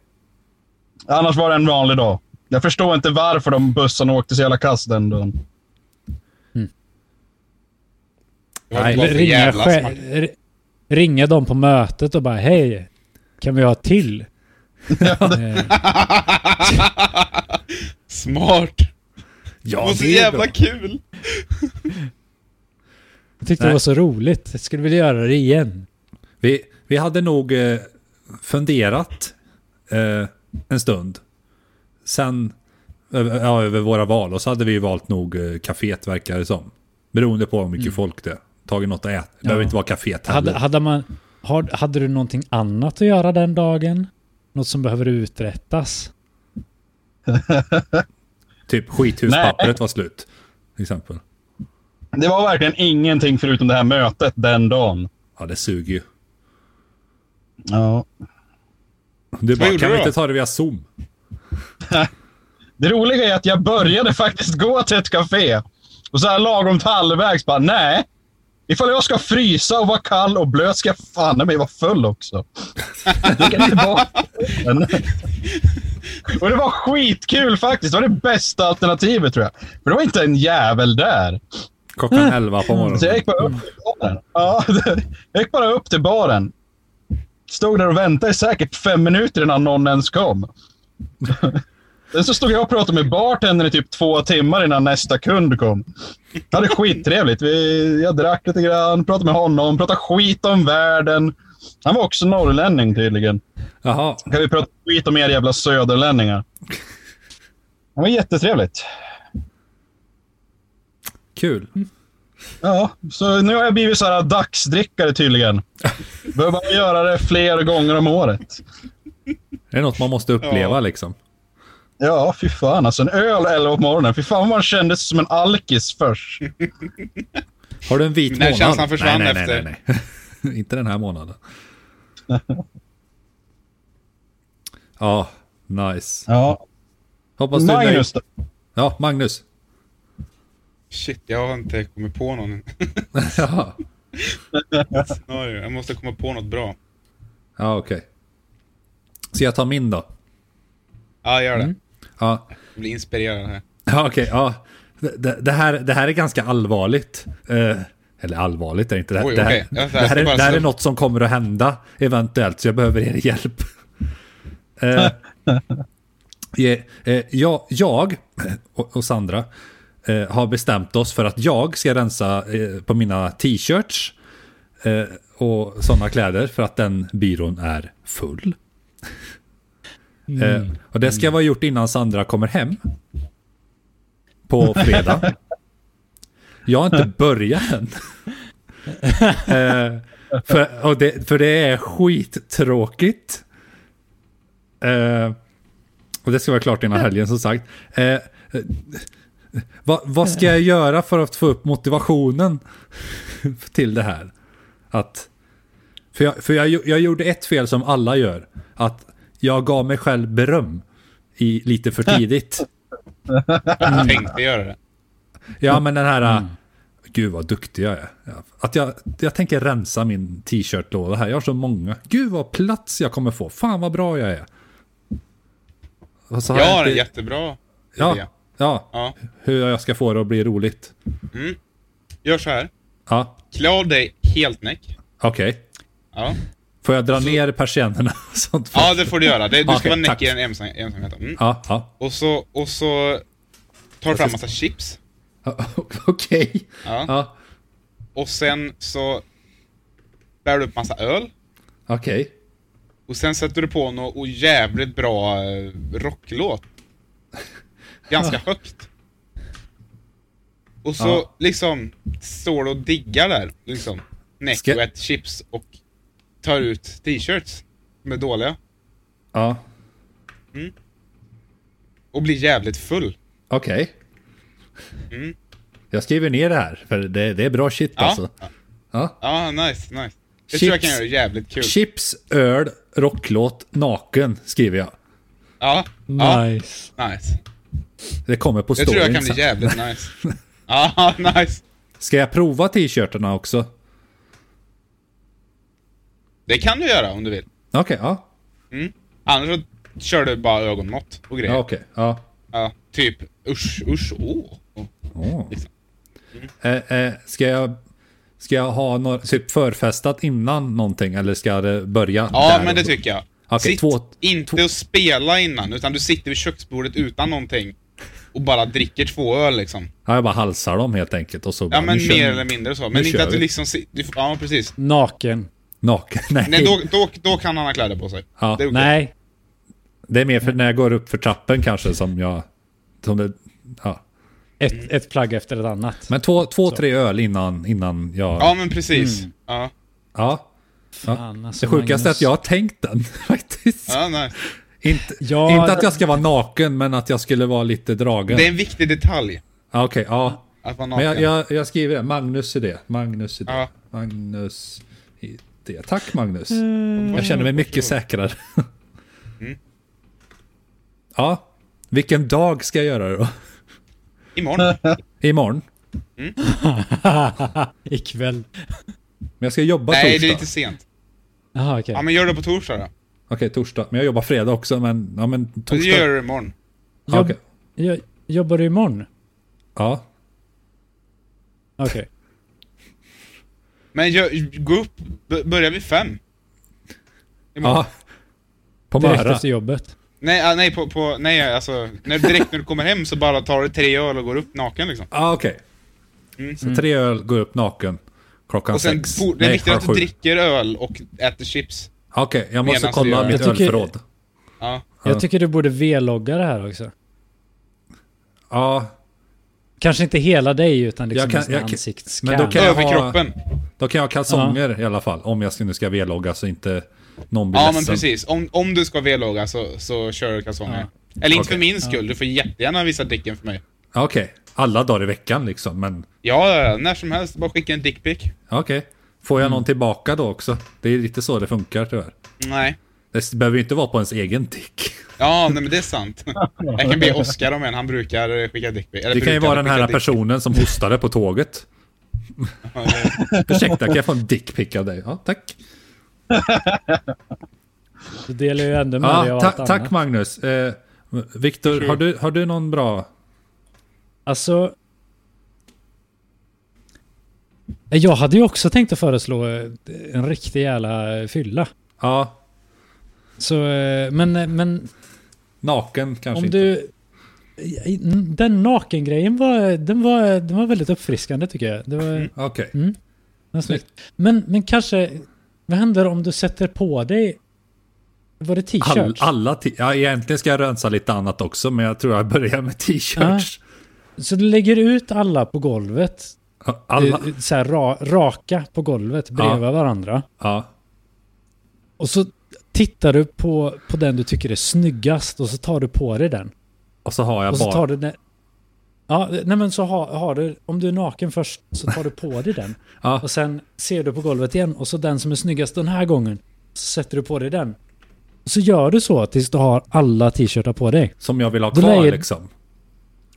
Speaker 1: Annars var det en vanlig dag. Jag förstår inte varför de bussarna åkte så jävla kast den dagen.
Speaker 3: Det var
Speaker 2: Nej,
Speaker 3: bara för
Speaker 4: Ringa,
Speaker 3: jävla
Speaker 4: själv-
Speaker 3: smart.
Speaker 4: r- ringa dem på mötet och bara hej, kan vi ha ett till? Eh,
Speaker 3: Smart! Det
Speaker 2: Ja,
Speaker 3: var så
Speaker 2: det är
Speaker 3: jävla
Speaker 2: bra.
Speaker 3: kul!
Speaker 4: Jag tyckte
Speaker 2: Nej.
Speaker 4: det var så roligt. Jag skulle vilja göra det igen.
Speaker 2: Vi, vi hade nog eh, funderat eh, en stund. Sen över, ja, över våra val och så hade vi ju valt nog eh, kaféet verkar det som. Beroende på hur mycket folk det är. Tagit något att äta. Det behöver inte vara kaféet
Speaker 4: Mm. Hade,
Speaker 2: heller.
Speaker 4: hade, man, har, hade du någonting annat att göra den dagen? Något som behöver uträttas?
Speaker 2: Typ skithuspappret var slut. Till exempel.
Speaker 1: Det var verkligen ingenting förutom det här mötet den dagen.
Speaker 2: Ja det suger ju.
Speaker 1: Ja.
Speaker 2: Du bara,
Speaker 3: gjorde
Speaker 2: kan
Speaker 3: du
Speaker 2: vi
Speaker 3: då?
Speaker 2: inte ta det via zoom?
Speaker 1: Det roliga är att jag började faktiskt gå till ett café. Och så här lagom till halvvägs bara, nej. Ifall jag ska frysa och vara kall och blöt ska jag fan i mig vara full också. Jag kan inte vara full. och det var skitkul faktiskt. Det var det bästa alternativet tror jag. För det var inte en jävel där.
Speaker 2: Klockan 11 på
Speaker 1: Så jag
Speaker 2: morgonen.
Speaker 1: gick bara upp till baren. Ja, jag gick bara upp till baren. Stod där och väntade i säkert fem minuter innan någon ens kom. Sen så stod jag och pratade med bartendern i typ två timmar innan nästa kund kom. Jag hade skittrevligt. Vi, jag drack lite grann, pratade med honom, pratade skit om världen. Han var också norrlänning tydligen.
Speaker 2: Jaha.
Speaker 1: Kan vi prata skit om er jävla söderlänningar? Det var jättetrevligt.
Speaker 2: Kul.
Speaker 1: Ja, så nu har jag blivit så här dagsdrickare tydligen. Behöver bara göra det fler gånger om året.
Speaker 2: Det är något man måste uppleva
Speaker 3: Ja.
Speaker 2: liksom.
Speaker 1: Ja, fy fan alltså. En öl 11 på morgonen. Fy fan vad man kändes som en alkis först.
Speaker 2: Har du en vit
Speaker 3: Den här
Speaker 2: månad?
Speaker 3: känslan försvann
Speaker 2: nej, nej,
Speaker 3: efter.
Speaker 2: Nej, nej, nej. Inte den här månaden. ja, nice.
Speaker 1: Ja.
Speaker 2: Hoppas du är nöjd.
Speaker 1: Magnus då?
Speaker 2: Ja, Magnus.
Speaker 3: Shit, jag har inte kommit på någon
Speaker 2: ja,
Speaker 3: scenario. Jag måste komma på något bra.
Speaker 2: ja okej. Så jag tar min då?
Speaker 3: Ja, gör det.
Speaker 2: Mm. Ja,
Speaker 3: Jag blir inspirerad här.
Speaker 2: ja okej. ja. Det- Det, det, här, det här är ganska allvarligt. Eh, eller allvarligt är det inte. Det,
Speaker 3: Oj,
Speaker 2: det, här,
Speaker 3: okej. Jag
Speaker 2: det,
Speaker 3: ska-
Speaker 2: här,
Speaker 3: jag ska
Speaker 2: är,
Speaker 3: bara
Speaker 2: det här är
Speaker 3: slå-
Speaker 2: något som kommer att hända eventuellt, så jag behöver er hjälp. Eh, je- eh, jag, jag och, och Sandra eh, har bestämt oss för att jag ska rensa eh, på mina t-shirts eh, och sådana kläder för att den byrån är full.
Speaker 3: Mm.
Speaker 2: Eh, och det ska vara gjort innan Sandra kommer hem på fredag. Jag har inte börjat än. Eh, för, och det, för det är skittråkigt. Eh, och det ska vara klart innan helgen som sagt. Eh, eh, vad, vad ska jag göra för att få upp motivationen till det här? Att, för jag, för jag, gjo- jag gjorde ett fel som alla gör. Att jag gav mig själv beröm i, lite för tidigt.
Speaker 3: Jag tänkte göra det.
Speaker 2: Ja, men den här... Gud vad duktig jag är. Ja, Att jag, jag tänker rensa min t-shirtlåda här. Jag har så många. Gud vad plats jag kommer få. Fan vad bra jag är. Och så har
Speaker 3: Jag har en
Speaker 2: inte-
Speaker 3: jättebra idé.
Speaker 2: ja, ja,
Speaker 3: Ja.
Speaker 2: hur jag ska få det att bli roligt.
Speaker 3: Gör så här.
Speaker 2: Ja,
Speaker 3: Klä av dig helt näck.
Speaker 2: okej.
Speaker 3: Ja.
Speaker 2: Får jag dra ner persiennerna och sånt?
Speaker 3: ja, det får du göra. Det, du ska
Speaker 2: Okej,
Speaker 3: vara
Speaker 2: tack.
Speaker 3: näck i en ensam, ensamhet. Mm.
Speaker 2: Ja, ja.
Speaker 3: Och så, och så tar du fram massa chips.
Speaker 2: Ja, Okej.
Speaker 3: Ja.
Speaker 2: Ja,
Speaker 3: Och sen så bär du upp massa öl.
Speaker 2: okej.
Speaker 3: Och sen sätter du på någon och jävligt bra eh, rocklåt. Ganska högt. Och så
Speaker 1: Ja.
Speaker 3: liksom står du och diggar där. Liksom.
Speaker 2: Ska-
Speaker 3: Neckvet, chips och tar ut t-shirts. Som är dåliga.
Speaker 2: Ja,
Speaker 3: Och blir jävligt full.
Speaker 2: okej. Jag skriver ner det här, för det, det är bra shit
Speaker 3: Mm. Ja.
Speaker 2: alltså. Ja.
Speaker 3: Ja, nice, nice. Det
Speaker 2: Chips.
Speaker 3: tror jag kan göra jävligt kul.
Speaker 2: Chips, öl, rocklåt, naken skriver jag.
Speaker 3: Ja, ja,
Speaker 4: Nice.
Speaker 3: nice.
Speaker 2: Det kommer på
Speaker 3: Det tror jag
Speaker 2: storyn
Speaker 3: kan bli
Speaker 2: sen.
Speaker 3: jävligt nice. Ja, nice.
Speaker 2: Ska jag prova t-shirtarna också?
Speaker 3: Det kan du göra om du vill.
Speaker 2: Okej, ja.
Speaker 3: Annars så kör du bara ögonmått och grejer.
Speaker 2: Ja,
Speaker 3: Ja.
Speaker 2: okej. Ja.
Speaker 3: typ usch, usch, åh. Oh.
Speaker 2: Åh.
Speaker 3: Liksom.
Speaker 2: Eh, eh, ska jag... Ska jag ha några, typ förfestat innan någonting eller ska det börja
Speaker 3: Ja,
Speaker 2: där
Speaker 3: men det
Speaker 2: och då?
Speaker 3: tycker jag.
Speaker 2: Okej,
Speaker 3: Sitt
Speaker 2: två-
Speaker 3: inte
Speaker 2: två-
Speaker 3: och spela innan, utan du sitter vid köksbordet utan någonting och bara dricker två öl liksom.
Speaker 2: Ja, jag bara halsar dem helt enkelt och så bara,
Speaker 3: Ja, men
Speaker 2: nu kör vi.
Speaker 3: mer eller mindre så.
Speaker 2: nu
Speaker 3: Men inte
Speaker 2: kör
Speaker 3: att du
Speaker 2: vi.
Speaker 3: liksom... si- Du, får- ja, precis.
Speaker 4: Naken.
Speaker 2: Naken? Nej.
Speaker 3: Nej, då, då, då kan han ha kläder på sig.
Speaker 2: Ja,
Speaker 3: Det är okej.
Speaker 4: Nej.
Speaker 2: Det är mer för när jag går upp för trappen kanske som jag... Som det, ja.
Speaker 4: Ett, ett plagg efter ett annat.
Speaker 2: Men två, två tre öl innan, innan jag...
Speaker 3: Ja, men precis.
Speaker 2: Mm.
Speaker 3: Ja,
Speaker 2: Ja.
Speaker 4: Fan, alltså,
Speaker 2: Det sjukaste är
Speaker 4: Magnus.
Speaker 2: att jag har tänkt den faktiskt.
Speaker 3: ja nice.
Speaker 2: Inte,
Speaker 4: Ja,
Speaker 2: inte att
Speaker 4: det-
Speaker 2: jag ska vara naken men att jag skulle vara lite dragen.
Speaker 3: Det är en viktig detalj.
Speaker 2: Ja, Okej, ja.
Speaker 3: Att man
Speaker 2: Men jag, jag, jag skriver det. Magnus idé. Magnus idé.
Speaker 3: Ja.
Speaker 2: Magnus idé. Tack Magnus.
Speaker 4: Mm.
Speaker 2: Jag känner mig mycket säkrare.
Speaker 3: Mm.
Speaker 2: Ja. Vilken dag ska jag göra det då?
Speaker 3: Imorgon.
Speaker 2: Imorgon?
Speaker 4: Ikväll.
Speaker 2: Men jag ska jobba
Speaker 3: Nej,
Speaker 2: torsdag.
Speaker 3: det är lite sent.
Speaker 4: Jaha, okej.
Speaker 3: Ja, men gör det på torsdag då.
Speaker 2: Okej, torsdag. Men jag jobbar fredag också, men... Ja, men torsdag.
Speaker 3: Det gör du imorgon.
Speaker 2: Ja,
Speaker 4: Jobb,
Speaker 2: okej.
Speaker 4: jo- Jobbar du imorgon?
Speaker 2: Ja.
Speaker 4: Okej.
Speaker 3: Men gör, gå upp, b- börja vid fem.
Speaker 2: ja. På
Speaker 4: Direkt
Speaker 2: Möra.
Speaker 4: efter jobbet.
Speaker 3: Nej, ah, nej, på, på, nej alltså, när, direkt när du kommer hem så bara tar du tre öl och går upp naken liksom.
Speaker 2: Ja, okej. Så tre öl, går upp naken. Klockan
Speaker 3: Mm. Och sen,
Speaker 2: sex.
Speaker 3: for, det är
Speaker 2: Nej,
Speaker 3: viktigt att
Speaker 2: sju.
Speaker 3: du dricker öl och äter chips.
Speaker 2: Okej, jag måste
Speaker 3: Medan du
Speaker 2: kolla
Speaker 3: gör
Speaker 2: mitt
Speaker 4: det. Jag tycker-
Speaker 2: ölförråd.
Speaker 3: Ja.
Speaker 2: Ja.
Speaker 4: Jag tycker du borde V-logga det här också.
Speaker 2: Ja,
Speaker 4: Kanske inte hela dig utan liksom
Speaker 2: Jag kan-
Speaker 4: en sån
Speaker 2: jag kan-
Speaker 4: ansiktsscan.
Speaker 2: men då kan jag-
Speaker 3: Överkroppen.
Speaker 2: då kan jag ha kalsonger i alla fall. Om jag nu ska V-logga så inte någon blir
Speaker 3: Ja, men
Speaker 2: ledsen.
Speaker 3: precis. Om, om du ska V-logga så, så kör du kalsonger. Eller inte
Speaker 2: Okej.
Speaker 3: för min skull, du får jättegärna visa dicken för mig.
Speaker 2: Ja, Okej, alla dagar i veckan liksom, men...
Speaker 3: Ja, ja, ja, när som helst. Bara skicka en dickpic.
Speaker 2: ja, Okej. Får jag
Speaker 4: Mm.
Speaker 2: någon tillbaka då också? Det är lite så det funkar tyvärr.
Speaker 3: Nej.
Speaker 2: Det behöver ju inte vara på ens egen tick.
Speaker 3: Ja, nej, men det är sant. Jag kan be Oscar om en, han brukar eh, skicka dickpic. Eller
Speaker 2: Det kan ju
Speaker 3: brukar
Speaker 2: vara den
Speaker 3: skicka
Speaker 2: här
Speaker 3: dick pic.
Speaker 2: personen som hostade på tåget. Ursäkta, kan jag få en dickpic av dig? Ja, tack.
Speaker 4: Du delar ju ändå med dig
Speaker 2: Ja,
Speaker 4: av
Speaker 2: ta
Speaker 4: allt
Speaker 2: tack
Speaker 4: annat.
Speaker 2: Magnus. Eh, Viktor, har du, har du någon bra...
Speaker 4: Alltså... Jag hade ju också tänkt att föreslå eh, en riktig jävla fylla.
Speaker 2: Ja,
Speaker 4: Så, eh, men, men
Speaker 2: naken kanske
Speaker 4: om
Speaker 2: inte.
Speaker 4: du... Den nakengrejen var, den var, den var väldigt uppfriskande tycker jag. Det var,
Speaker 2: Okej.
Speaker 4: Mm, Men snyggt. Men, men kanske, vad händer om du sätter på dig, var det
Speaker 2: All,
Speaker 4: t-shirts?
Speaker 2: alla t- ja, egentligen ska jag rensa lite annat också, men jag tror jag börjar med t-shirts.
Speaker 4: Så du lägger ut alla på golvet,
Speaker 2: Alla?
Speaker 4: eh, så här ra, raka på golvet bredvid varandra.
Speaker 2: Ja.
Speaker 4: Och så tittar du på, på den du tycker är snyggast och så tar du på dig den.
Speaker 2: Och så har jag
Speaker 4: Och så
Speaker 2: bara...
Speaker 4: tar du den. Ja, nej men så har, har du, om du är naken först så tar du på dig den.
Speaker 2: Ja.
Speaker 4: Och sen ser du på golvet igen och så den som är snyggast den här gången. Så sätter du på dig den. Och så gör du så tills du har alla t-shirtar på dig.
Speaker 2: Som jag vill ha
Speaker 4: Då
Speaker 2: kvar
Speaker 4: lägger-
Speaker 2: liksom.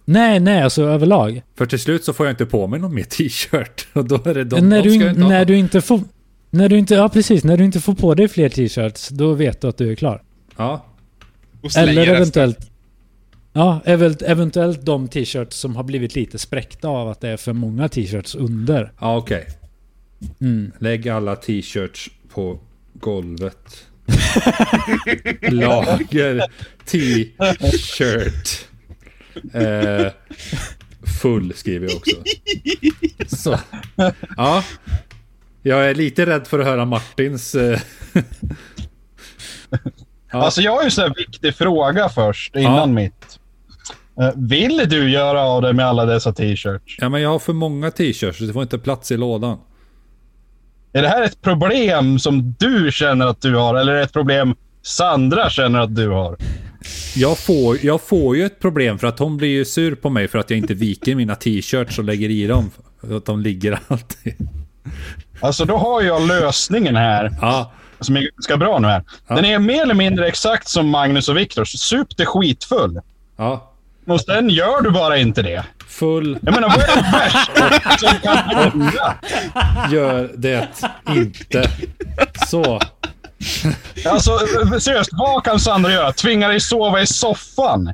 Speaker 4: Nej, nej, alltså överlag.
Speaker 2: För till slut så får jag inte på mig någon mer t-shirt. Och då är det de,
Speaker 4: när,
Speaker 2: de
Speaker 4: du,
Speaker 2: ska jag
Speaker 4: in-
Speaker 2: inte ha.
Speaker 4: när du inte får... När du inte, ja precis, när du inte får på dig fler t-shirts, då vet du att du är klar.
Speaker 2: Ja.
Speaker 3: Och slänger
Speaker 4: Eller
Speaker 3: resten.
Speaker 4: eventuellt... Ja, eventuellt, eventuellt de t-shirts som har blivit lite spräckta av att det är för många t-shirts under.
Speaker 2: Ja, okej.
Speaker 4: Mm.
Speaker 2: Lägg alla t-shirts på golvet. Lager t-shirt. Eh, full skriver jag också. Så. Ja. Jag är lite rädd för att höra Martins eh,
Speaker 4: Ja.
Speaker 1: Alltså jag har ju en sån här viktig fråga först innan
Speaker 2: Ja.
Speaker 1: mitt. Eh, Vill du göra av det med alla dessa t-shirts?
Speaker 2: Ja, men jag har för många t-shirts så det får inte plats i lådan.
Speaker 1: Är det här ett problem som du känner att du har eller är det ett problem Sandra känner att du har?
Speaker 2: Jag får, jag får ju ett problem för att hon blir ju sur på mig för att jag inte viker mina t-shirts och lägger i dem. För Att de ligger alltid.
Speaker 1: Alltså då har jag lösningen här
Speaker 2: Ja,
Speaker 1: som är ganska bra nu här. Den är mer eller mindre exakt som Magnus och Viktors. Sup dig skitfull.
Speaker 2: ja.
Speaker 1: Och sen gör du bara inte det.
Speaker 2: Full
Speaker 1: Jag menar, vad är det värsta som kan hända?
Speaker 2: gör det inte. Så.
Speaker 1: Alltså seriöst, vad kan Sandra göra? Tvinga dig sova i soffan?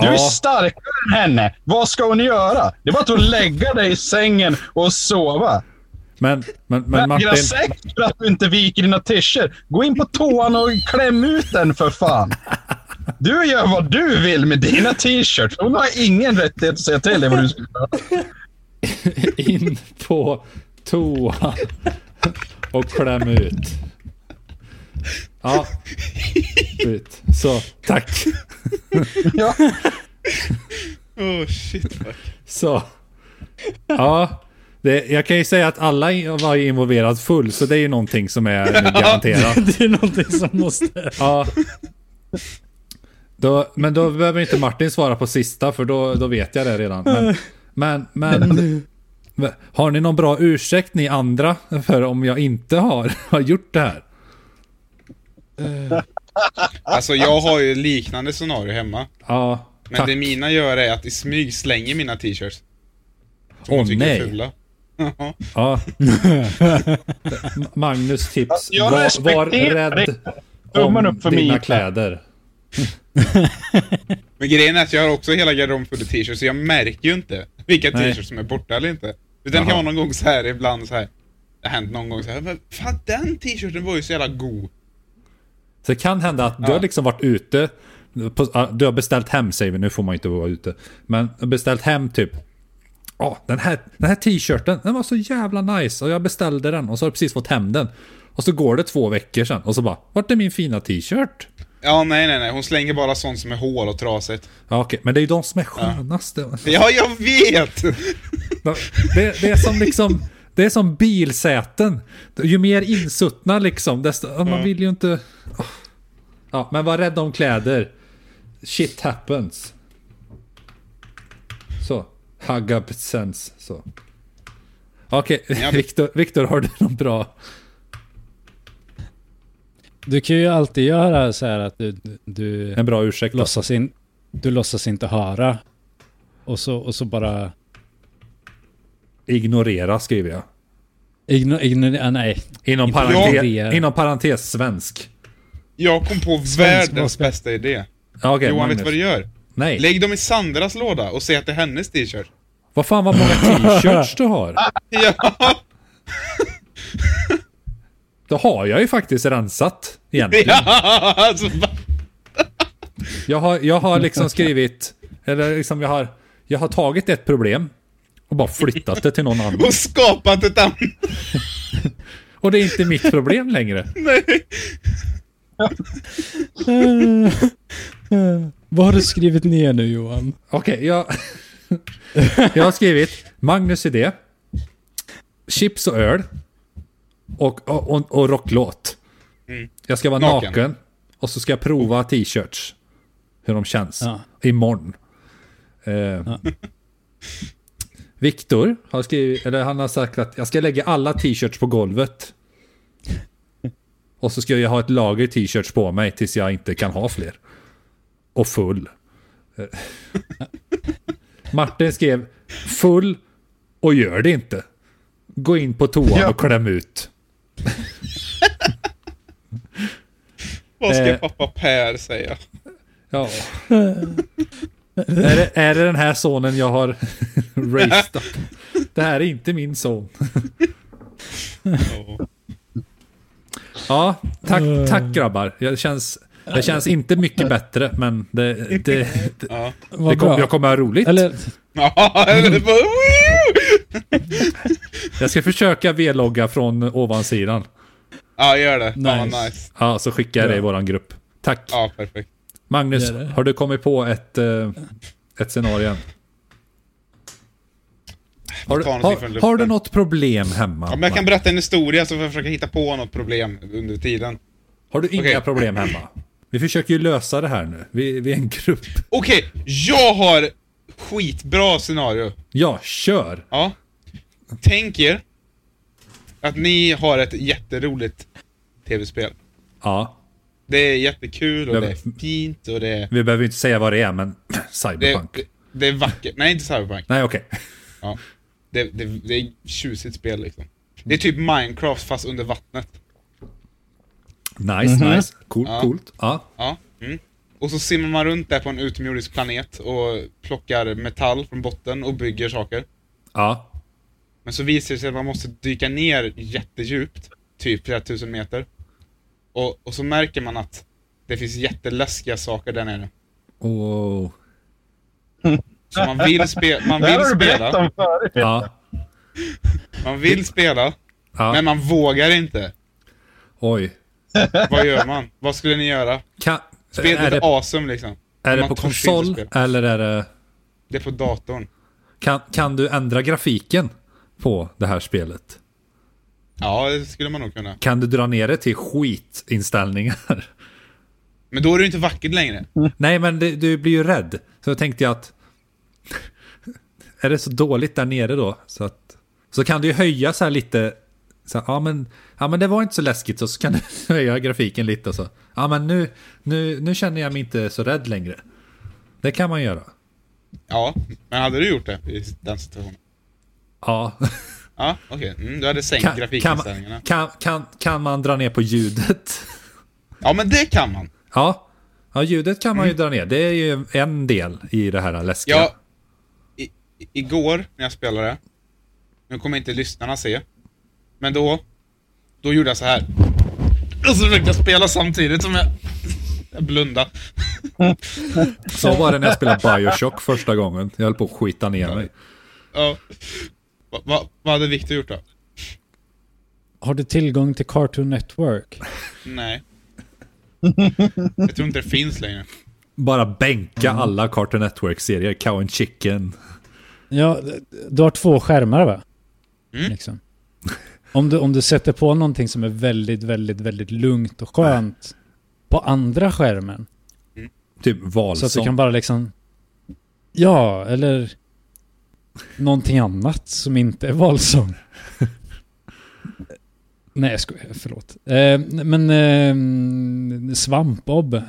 Speaker 1: Du är
Speaker 2: Ja.
Speaker 1: starkare än henne. Vad ska hon göra? Det är bara att lägga dig i sängen och sova.
Speaker 2: Men, men, men
Speaker 1: Vägra
Speaker 2: Martin.
Speaker 1: säck för att du inte viker dina t-shirts. Gå in på toan och kläm ut den för fan. Du gör vad du vill med dina t-shirts. Hon har ingen rättighet att säga till dig vad du ska göra.
Speaker 2: In på toa och kläm ut. Ja. Ut. Så, tack.
Speaker 1: Ja.
Speaker 3: Oh shit. fuck.
Speaker 2: Så. Ja. Det, jag kan ju säga att alla var ju involverad full, så det är ju någonting som är garanterat.
Speaker 4: Det är någonting som måste...
Speaker 2: Ja. Då, men då behöver inte Martin svara på sista för då, då vet jag det redan. Men, men, men har ni någon bra ursäkt ni andra för om jag inte har, har gjort det här?
Speaker 3: Alltså jag har ju liknande scenario hemma.
Speaker 2: Ja,
Speaker 3: Men
Speaker 2: tack.
Speaker 3: det mina gör är att i smyg slänger mina t-shirts. Som
Speaker 2: Åh,
Speaker 3: jag tycker är
Speaker 2: nej.
Speaker 3: fula.
Speaker 2: Ja. Magnus tips.
Speaker 1: Jag
Speaker 2: Var, var
Speaker 1: respekterar
Speaker 2: rädd
Speaker 1: Tummen
Speaker 2: om
Speaker 1: upp för
Speaker 2: dina
Speaker 1: min
Speaker 2: kläder.
Speaker 3: Men grejen är att jag har också hela garderoben full av t-shirts, så jag märker ju inte vilka
Speaker 2: Nej.
Speaker 3: t-shirts som är borta eller inte. Utan det
Speaker 2: Jaha.
Speaker 3: kan vara någon gång så här ibland så här. Det har hänt någon gång så här, men fan den t-shirten var ju så jävla god.
Speaker 2: Så det kan hända att du har liksom varit ute. På, ja, du har beställt hem, säger vi. Nu får man inte vara ute. Men beställt hem typ. Ja, den här, den här t-shirten, den var så jävla nice. Och jag beställde den och så har jag precis fått hem den. Och så går det två veckor sedan och så bara, vart är min fina t-shirt?
Speaker 3: Ja, nej, nej, nej. Hon slänger bara sånt som är hål och trasigt.
Speaker 2: Ja, okej, men det är ju de som är skönaste.
Speaker 3: Ja, jag vet!
Speaker 2: Det, det är som liksom, det är som bilsäten. Ju mer insuttna liksom, desto,
Speaker 3: Mm.
Speaker 2: man vill ju inte... Ja, men var rädd om kläder. Shit happens. Så. Hug up sense. Så. Okej,
Speaker 3: Ja.
Speaker 2: Viktor, Viktor, har du någon bra...
Speaker 4: Du kan ju alltid göra så här att du, du- du
Speaker 2: En bra ursäkt? då?
Speaker 4: låtsas, in, du låtsas inte höra. Och så, och så bara...
Speaker 2: Ignorera skriver jag.
Speaker 4: Igno, igno, ah, nej,
Speaker 2: Inom
Speaker 4: Inte
Speaker 2: parentes,
Speaker 4: ignorera.
Speaker 2: inom parentes svensk.
Speaker 3: Jag kom på världens
Speaker 4: måste-
Speaker 3: bästa idé.
Speaker 2: Ja, Okej,
Speaker 3: Johan,
Speaker 2: Magnus.
Speaker 3: vet du vad du gör?
Speaker 2: Nej.
Speaker 3: Lägg dem i Sandras låda och säg att det är hennes t-shirt.
Speaker 2: Vad fan vad många t-shirts du har.
Speaker 3: Ja,
Speaker 2: Då har jag ju faktiskt rensat egentligen.
Speaker 3: ja, alltså, va?
Speaker 2: Jag har, jag har liksom skrivit, eller liksom jag har, jag har tagit ett problem och bara flyttat det till någon annan.
Speaker 3: och skapat ett annat.
Speaker 2: Och det är inte mitt problem längre.
Speaker 3: Nej.
Speaker 4: Vad har du skrivit ner nu Johan?
Speaker 2: Okej, jag, jag har skrivit Magnus idé, chips och öl och, och, och, och rocklåt. Jag ska vara naken.
Speaker 3: Naken.
Speaker 2: och så ska jag prova t-shirts. Hur de känns.
Speaker 4: Ja.
Speaker 2: Imorgon. Eh, Viktor har skrivit, eller han har sagt att jag ska lägga alla t-shirts på golvet. Och så ska jag ha ett lager t-shirts på mig tills jag inte kan ha fler. Och full. Eh. Martin skrev full och gör det inte. Gå in på toan
Speaker 1: Ja.
Speaker 2: och kläm ut.
Speaker 3: Vad ska
Speaker 2: Eh.
Speaker 3: pappa Per säga?
Speaker 2: Ja. är, det, är det den här sonen jag har raised up? Det här är inte min son.
Speaker 3: Ja.
Speaker 2: Ja, tack, tack grabbar. Jag känns, det känns inte mycket bättre, men det, det, det,
Speaker 3: Ja.
Speaker 4: Vad
Speaker 2: kom,
Speaker 4: bra.
Speaker 2: jag kommer ha roligt.
Speaker 4: Eller,
Speaker 3: Ja, eller bara, woo!
Speaker 2: Jag ska försöka vlogga från ovansidan.
Speaker 3: Ja, gör det. Fan vad
Speaker 4: Nice.
Speaker 3: nice.
Speaker 2: Ja, så skickar jag det i
Speaker 4: Ja.
Speaker 2: våran grupp. Tack.
Speaker 3: Ja, perfekt.
Speaker 2: Magnus,
Speaker 5: Det är det.
Speaker 2: har du kommit på ett, eh, ett scenario än? Har, du-
Speaker 3: Ta någonting från
Speaker 2: har,
Speaker 3: luften.
Speaker 2: har du något problem hemma?
Speaker 3: Ja, men jag kan
Speaker 2: Magnus?
Speaker 3: berätta en historia så får jag försöka hitta på något problem under tiden.
Speaker 2: har du inga
Speaker 3: Okej.
Speaker 2: problem hemma? Vi försöker ju lösa det här nu. Vi, vi är en grupp.
Speaker 3: Okej, jag har skitbra scenario.
Speaker 2: Ja, kör!
Speaker 3: Ja. Tänk er att ni har ett jätteroligt tv-spel.
Speaker 2: Ja,
Speaker 3: Det är jättekul och
Speaker 2: Jag
Speaker 3: det
Speaker 2: vet.
Speaker 3: är fint och det är...
Speaker 2: vi behöver ju inte säga vad det är, men
Speaker 3: Det,
Speaker 2: Cyberpunk.
Speaker 3: det, det är vackert. Nej, inte Cyberpunk.
Speaker 2: Nej, okej.
Speaker 3: Ja. Det, det, det är tjusigt spel liksom. Det är typ Minecraft fast under vattnet.
Speaker 2: Nice, nice. Coolt, coolt. Ja.
Speaker 3: Ja. Mm. Och så simmar man runt där på en utomjordisk planet och plockar metall från botten och bygger saker.
Speaker 2: ja.
Speaker 3: Men så visar det sig att man måste dyka ner jättedjupt, typ flera tusen meter. Och, och så märker man att det finns jätteläskiga saker där nere.
Speaker 2: Oh.
Speaker 3: Så man vill, spe- man
Speaker 1: Det här
Speaker 3: vill
Speaker 1: har du berättat
Speaker 3: spela,
Speaker 1: om förut.
Speaker 2: Ja.
Speaker 3: man vill spela, men
Speaker 2: ja.
Speaker 3: man vågar inte.
Speaker 2: Oj.
Speaker 3: Vad gör man? Vad skulle ni göra?
Speaker 2: Ka-
Speaker 3: Spelet är,
Speaker 2: är det,
Speaker 3: awesome liksom.
Speaker 2: är det
Speaker 3: man
Speaker 2: på
Speaker 3: törs inte
Speaker 2: konsol
Speaker 3: spela.
Speaker 2: eller är det...
Speaker 3: Det är på datorn.
Speaker 2: Kan, kan du ändra grafiken på det här spelet?
Speaker 3: Ja, det skulle man nog kunna.
Speaker 2: Kan du dra ner det till skitinställningar?
Speaker 3: Men då är det ju inte vackert längre.
Speaker 2: Nej, men det, du blir ju rädd. Så tänkte jag att... Är det så dåligt där nere då? Så, att, så kan du ju höja så här lite... Så här, ja, men, ja, men det var inte så läskigt. Så, så kan du höja grafiken lite och så. Ja, men nu, nu, nu känner jag mig inte så rädd längre. Det kan man göra.
Speaker 3: Ja, men hade du gjort det i den situationen?
Speaker 2: Ja.
Speaker 3: Ja, okej. Mm, du hade sänkt
Speaker 2: Kan, kan,
Speaker 3: grafikinställningarna.
Speaker 2: man- kan, kan, kan man dra ner på ljudet?
Speaker 3: Ja, men det kan man.
Speaker 2: Ja. ja, ljudet kan man
Speaker 4: Mm.
Speaker 2: ju dra ner. Det är ju en del i det här läskiga.
Speaker 3: Jag, i, i- igår när jag spelade, nu kommer inte lyssnarna se, men då, då gjorde jag så här. Och så försökte jag spela samtidigt som jag, jag blundade.
Speaker 2: Så var det när jag spelade Bioshock första gången. Jag höll på att skita ner mig.
Speaker 3: Ja. Va, va, vad hade Victor gjort då?
Speaker 4: Har du tillgång till Cartoon Network?
Speaker 3: Nej. Jag tror inte det finns längre.
Speaker 2: Bara bänka
Speaker 4: Mm.
Speaker 2: alla Cartoon Network-serier. Cow and Chicken.
Speaker 4: Ja, du har två skärmar va?
Speaker 2: Mm.
Speaker 4: Liksom. Om, du, om du sätter på någonting som är väldigt, väldigt, väldigt lugnt och skönt på andra skärmen.
Speaker 2: Typ
Speaker 4: Så att du
Speaker 2: Valsång.
Speaker 4: kan bara liksom... Ja, eller någonting annat som inte är valsång. Nej, jag skojar. Förlåt. Eh, men eh, Svamp-Bob.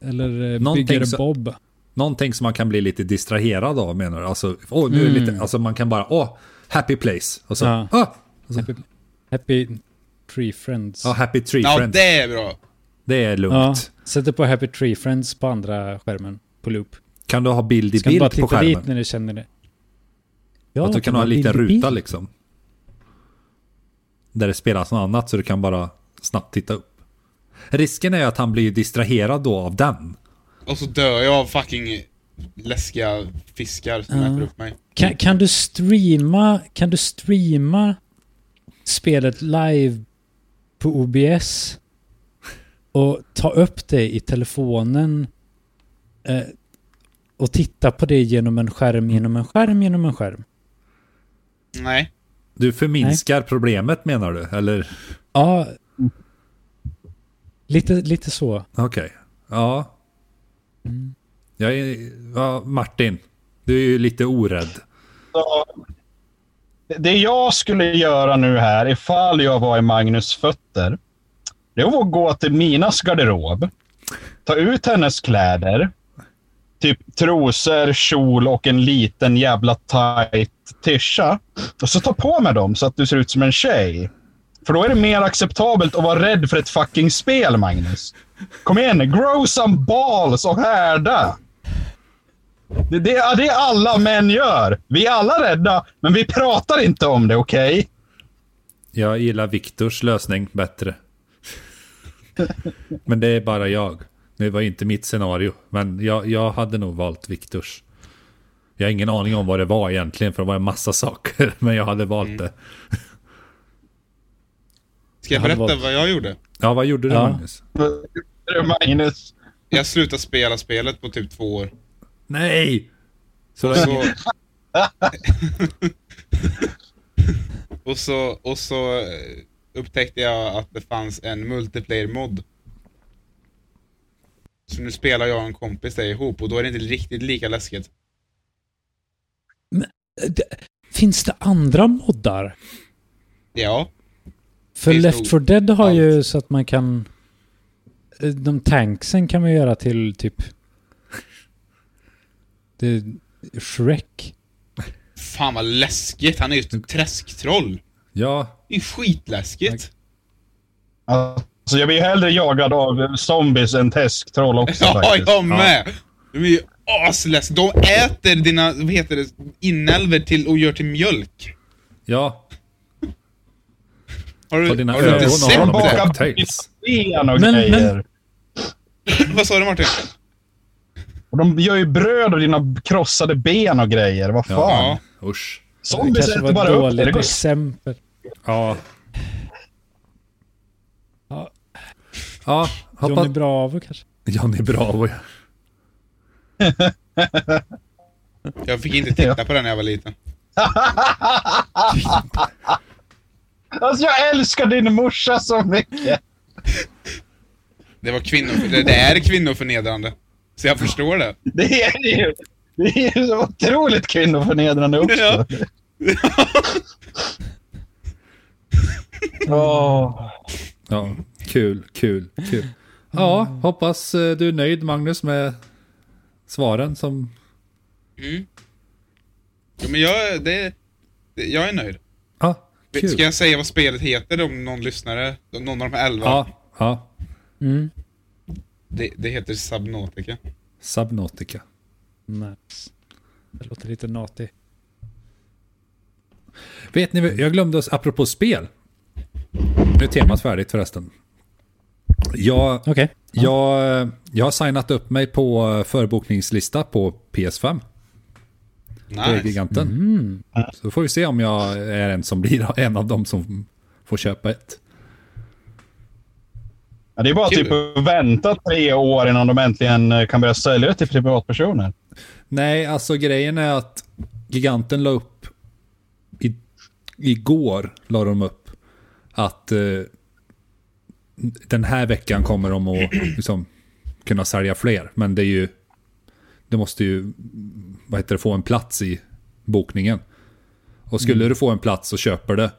Speaker 4: Eller eh,
Speaker 2: Någonting som-
Speaker 4: Byggare-Bob.
Speaker 2: Någonting som man kan bli lite distraherad av menar du? Alltså, åh, nu är det lite,
Speaker 4: Mm.
Speaker 2: alltså man kan bara, åh, happy place. Och så,
Speaker 4: Ja.
Speaker 2: ah,
Speaker 4: Happy, happy Tree Friends.
Speaker 2: ja, happy tree
Speaker 3: Ja,
Speaker 2: friends.
Speaker 3: det är bra.
Speaker 2: Det är lugnt.
Speaker 4: Ja, sätter på Happy Tree Friends på andra skärmen på loop.
Speaker 2: Kan du ha bild i
Speaker 4: Ska du
Speaker 2: bild
Speaker 4: bara
Speaker 2: på
Speaker 4: titta
Speaker 2: skärmen?
Speaker 4: dit när du känner det. Ja,
Speaker 2: att du kan ha en
Speaker 4: bild
Speaker 2: liten
Speaker 4: i bild.
Speaker 2: ruta liksom. Där det spelas något annat så du kan bara snabbt titta upp. Risken är att han blir distraherad då av den.
Speaker 3: Och så dör jag av fucking läskiga fiskar som
Speaker 4: Ja.
Speaker 3: äter upp mig.
Speaker 4: Kan, kan du streama, kan du streama spelet live på OBS och ta upp det i telefonen eh, och titta på det genom en skärm, genom en skärm, genom en skärm?
Speaker 3: Nej.
Speaker 2: Du förminskar problemet menar du? Eller?
Speaker 4: Ja, lite, lite så. Eh,
Speaker 2: Okej. Ja. Jag är, ja. Martin, du är ju lite orädd.
Speaker 1: Så, det jag skulle göra nu här, ifall jag var i Magnus fötter, det var att gå till Minas garderob, ta ut hennes kläder, typ trosor, kjol och en liten jävla tight tisha. Och så ta på mig dem så att du ser ut som en tjej. För då är det mer acceptabelt att vara rädd för ett fucking spel, Magnus. Kom igen, grow some balls och härda. Det, det är det alla män gör. Vi är alla rädda, men vi pratar inte om det, okej?
Speaker 2: Jag gillar Viktors lösning bättre. men det är bara jag. Det var ju inte mitt scenario. Men jag, jag hade nog valt Viktors. Jag har ingen aning om vad det var egentligen, för det var en massa saker. Men jag hade valt det.
Speaker 3: Ska jag
Speaker 4: Jag hade
Speaker 3: berätta
Speaker 4: valt-
Speaker 3: vad jag gjorde?
Speaker 2: Ja, vad gjorde du
Speaker 4: Ja.
Speaker 2: Magnus?
Speaker 1: du Magnus?
Speaker 3: Jag slutade spela spelet på typ två år.
Speaker 2: Nej! Så,
Speaker 3: Och så... och så, och så eh, upptäckte jag att det fanns en multiplayer-mod. Så nu spelar jag och en kompis det ihop och då är det inte riktigt lika läskigt.
Speaker 4: Det- Finns det andra moddar?
Speaker 3: Ja,
Speaker 4: För
Speaker 3: Finns
Speaker 4: Left
Speaker 3: nog
Speaker 4: 4 Dead har
Speaker 3: allt.
Speaker 4: ju så att man kan... eh, De tanksen kan man göra till typ... Det, Shrek.
Speaker 3: fan vad läskigt. Han är ju ett träsktroll.
Speaker 2: ja,
Speaker 3: Det är ju skitläskigt.
Speaker 1: Alltså, jag blir hellre jagad av zombies än tesktroll också
Speaker 3: Ja,
Speaker 1: faktiskt.
Speaker 3: jag med! De är ju asläskiga. De äter dina, vad heter det, inälvor till och gör till mjölk.
Speaker 2: ja.
Speaker 3: Har
Speaker 2: På
Speaker 3: du,
Speaker 2: dina
Speaker 3: har du
Speaker 2: ögon
Speaker 3: inte
Speaker 2: har de
Speaker 3: sett
Speaker 1: bakar
Speaker 3: det?
Speaker 2: bakar
Speaker 1: bakar
Speaker 2: cocktails.
Speaker 1: Ben och
Speaker 4: Men- men-
Speaker 1: grejer.
Speaker 3: Vad sa du Martin?
Speaker 1: Och de gör ju bröd av dina krossade ben och grejer. Vad fan?
Speaker 3: Ja.
Speaker 2: Usch.
Speaker 4: Det
Speaker 1: Zombies
Speaker 4: kanske
Speaker 1: äter
Speaker 4: var
Speaker 1: bara
Speaker 4: ett
Speaker 1: upp det. Det
Speaker 4: dåligt
Speaker 1: går
Speaker 4: exempel.
Speaker 2: Ja.
Speaker 4: Ja.
Speaker 2: Ja,
Speaker 4: Johnny
Speaker 2: hoppas...
Speaker 4: Bravo kanske?
Speaker 2: Johnny Bravo.
Speaker 3: Jag fick inte titta på den när jag var liten.
Speaker 1: Alltså jag älskar din morsa så mycket.
Speaker 3: Det var kvinnor, det, det är kvinnoförnedrande. Så jag förstår det.
Speaker 1: Det är ju, det är ju så otroligt kvinnoförnedrande också.
Speaker 3: Ja.
Speaker 1: Åh.
Speaker 2: Ja, kul, kul, kul. Ja, hoppas eh, du är nöjd Magnus med svaren som...
Speaker 3: Mm. Ja, men jag, det, det, jag är nöjd.
Speaker 2: Ja, kul.
Speaker 3: Ska jag säga vad spelet heter om någon lyssnare? Någon av de här elva?
Speaker 2: Ja, ja.
Speaker 4: Mm.
Speaker 3: Det, det heter Subnautica.
Speaker 2: Subnautica.
Speaker 4: Nice. Det låter lite nati.
Speaker 2: Vet ni, vad- jag glömde oss, apropå spel. Nu är temat färdigt förresten. Jag,
Speaker 4: Okej.
Speaker 2: jag, eh, jag har signat upp mig på eh, förbokningslista på PS5. på
Speaker 3: Nice.
Speaker 2: giganten. Så får vi se om jag är en som blir en av dem som får köpa ett.
Speaker 1: Ja, det är bara
Speaker 3: Kul.
Speaker 1: typ att vänta tre år innan de äntligen eh, kan börja sälja det till privatpersoner.
Speaker 2: Nej, alltså grejen är att giganten la upp i, igår la de upp att eh, den här veckan kommer de att liksom, kunna sälja fler. Men det är ju, det måste ju, vad heter det, få en plats i bokningen. Och skulle
Speaker 1: Mm.
Speaker 2: du få en plats och köper det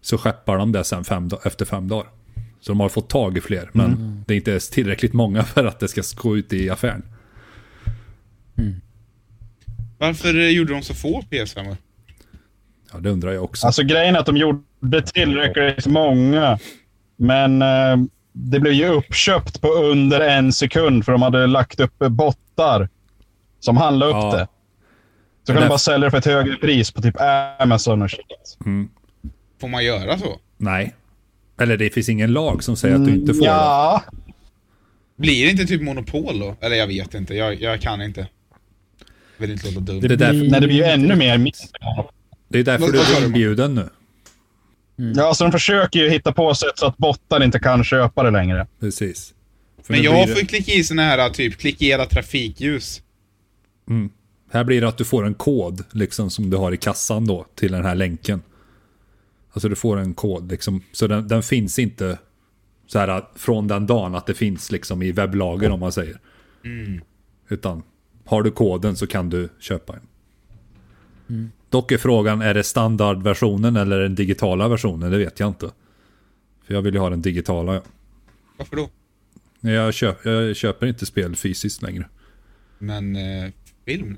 Speaker 2: så skeppar de det sen fem, da- efter fem dagar. Så de har fått tag i fler, men
Speaker 1: Mm.
Speaker 2: det är inte ens tillräckligt många för att det ska gå ut i affären.
Speaker 3: Varför eh, gjorde de så få PS5?
Speaker 2: Ja, det undrar jag också.
Speaker 1: Alltså grejen är att de gjorde tillräckligt många. Men eh, det blev ju uppköpt på under en sekund för de hade lagt upp eh, bottar som handlade upp
Speaker 2: Ja.
Speaker 1: det. Så kan
Speaker 2: där-
Speaker 1: de bara sälja det för ett högre pris på typ Amazon och shit.
Speaker 3: Får man göra så?
Speaker 2: Nej. Eller det finns ingen lag som säger att du inte får
Speaker 1: Mm, Ja,
Speaker 3: Blir det inte typ monopol då? Eller jag vet inte, jag, jag kan inte. Vill inte låta dum.
Speaker 2: det. Det är, därför,
Speaker 1: nej, det blir ju ännu mer mindre.
Speaker 2: det är därför
Speaker 3: Vad-
Speaker 2: du
Speaker 3: vad sa
Speaker 2: blir
Speaker 3: du?
Speaker 2: inbjuden nu.
Speaker 1: Ja, alltså de försöker ju hitta på sätt så att bottar inte kan köpa det längre.
Speaker 2: Precis. För
Speaker 3: Men
Speaker 2: nu
Speaker 3: jag
Speaker 2: blir
Speaker 3: får ju
Speaker 2: det,
Speaker 3: klicka i såna här typ, klickera trafikljus.
Speaker 2: Här blir det att du får en kod liksom som du har i kassan då till den här länken. Alltså du får en kod liksom. Så den, den finns inte så här att- från den dagen att det finns liksom i webblagen om man säger. Utan har du koden så kan du köpa en. Dock är frågan, är det standardversionen eller den digitala versionen? Det vet jag inte. För jag vill ju ha den digitala. Ja.
Speaker 3: Varför då?
Speaker 2: Nej, Jag, köp, jag köper inte spel fysiskt längre.
Speaker 3: Men eh, film?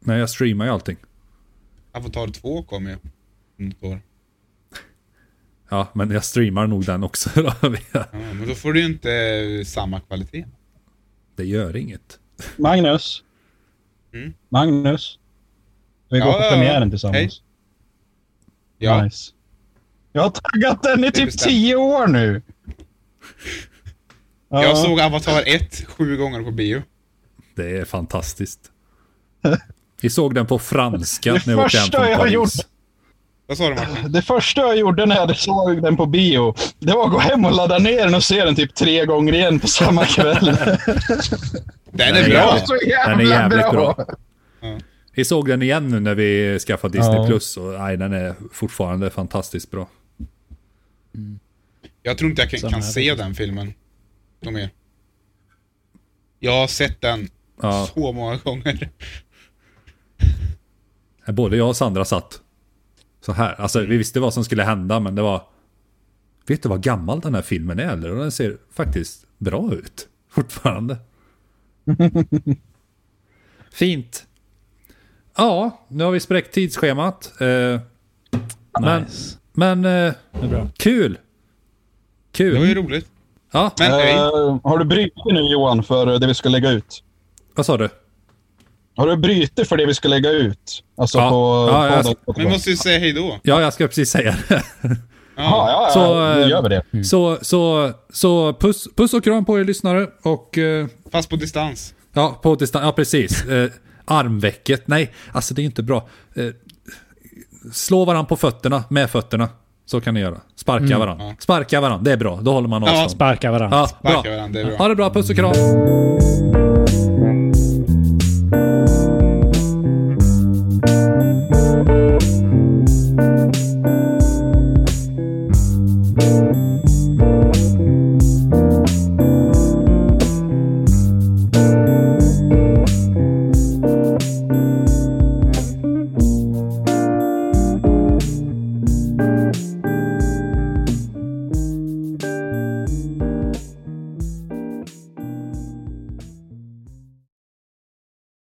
Speaker 2: Nej, jag streamar ju allting.
Speaker 3: Avatar 2 kommer ju. Om något år.
Speaker 2: Ja, men jag streamar nog den också. då.
Speaker 3: Ja, men då får du ju inte eh, samma kvalitet.
Speaker 2: det gör inget.
Speaker 1: Magnus.
Speaker 3: Mm.
Speaker 1: Magnus. Vi
Speaker 3: Ja,
Speaker 1: går
Speaker 3: ja,
Speaker 1: på
Speaker 3: ja.
Speaker 1: premiären tillsammans.
Speaker 3: Ja,
Speaker 1: Nice. Jag har taggat den i typ
Speaker 3: bestämt.
Speaker 1: tio år nu. Ja,
Speaker 3: jag såg Avatar 1 sju gånger på bio.
Speaker 2: Det är fantastiskt. Vi såg den på franska
Speaker 1: Det
Speaker 2: när vi åkte hem
Speaker 1: första
Speaker 2: från
Speaker 1: jag
Speaker 2: Paris.
Speaker 1: gjorde.
Speaker 3: Vad sa du Martin?
Speaker 1: Det första jag gjorde när jag såg den på bio, det var att gå hem och ladda ner den och se den typ tre gånger igen på samma kväll.
Speaker 3: Den
Speaker 2: Nej,
Speaker 3: är
Speaker 2: ja.
Speaker 3: bra!
Speaker 1: Så jävla
Speaker 2: Den är jävligt bra.
Speaker 3: Ja.
Speaker 2: Vi såg den igen nu när vi skaffade Disney
Speaker 1: Ja.
Speaker 2: Plus och nej, den är fortfarande fantastiskt bra.
Speaker 3: Jag tror inte jag kan,
Speaker 4: Sån
Speaker 3: kan
Speaker 4: här.
Speaker 3: se den filmen. Någon mer. Jag har sett den
Speaker 2: Ja,
Speaker 3: så många gånger.
Speaker 2: Eh, både jag och Sandra satt så här. Alltså vi visste vad som skulle hända men det var... Vet du vad gammal den här filmen är eller? Och den ser faktiskt bra ut fortfarande. Fint. Ja, nu har vi spräckt tidsschemat. Eh, men
Speaker 4: Nice.
Speaker 2: men eh,
Speaker 4: Det är bra.
Speaker 2: kul!
Speaker 3: Det var ju
Speaker 2: Kul!
Speaker 3: roligt.
Speaker 2: Ja,
Speaker 3: Men hej,
Speaker 1: Eh, har du brutit nu Johan för det vi ska lägga ut?
Speaker 2: vad sa du?
Speaker 1: Har du brutit för det vi ska lägga ut? Alltså
Speaker 2: Ja.
Speaker 1: på
Speaker 2: Ja, jag
Speaker 1: podden?
Speaker 3: men vi måste ju säga hej då.
Speaker 2: Ja, jag ska precis säga det.
Speaker 1: Ja, ja, ja.
Speaker 2: Så, eh,
Speaker 1: nu gör vi det.
Speaker 2: Så, så, så puss, puss och kram på er lyssnare och eh,
Speaker 3: Fast på distans.
Speaker 2: ja, på distans, ja precis. Eh, armvecket, nej, alltså det är inte bra. Eh, slå varandra på fötterna, med fötterna. Så kan ni göra. Sparka varandra. Sparka varandra, det är bra. Då håller man
Speaker 3: Ja,
Speaker 2: avstånd.
Speaker 4: Sparka varandra.
Speaker 2: Ja,
Speaker 3: Sparka
Speaker 2: bra.
Speaker 3: varandra, det är bra.
Speaker 2: Ha det bra, puss och kram.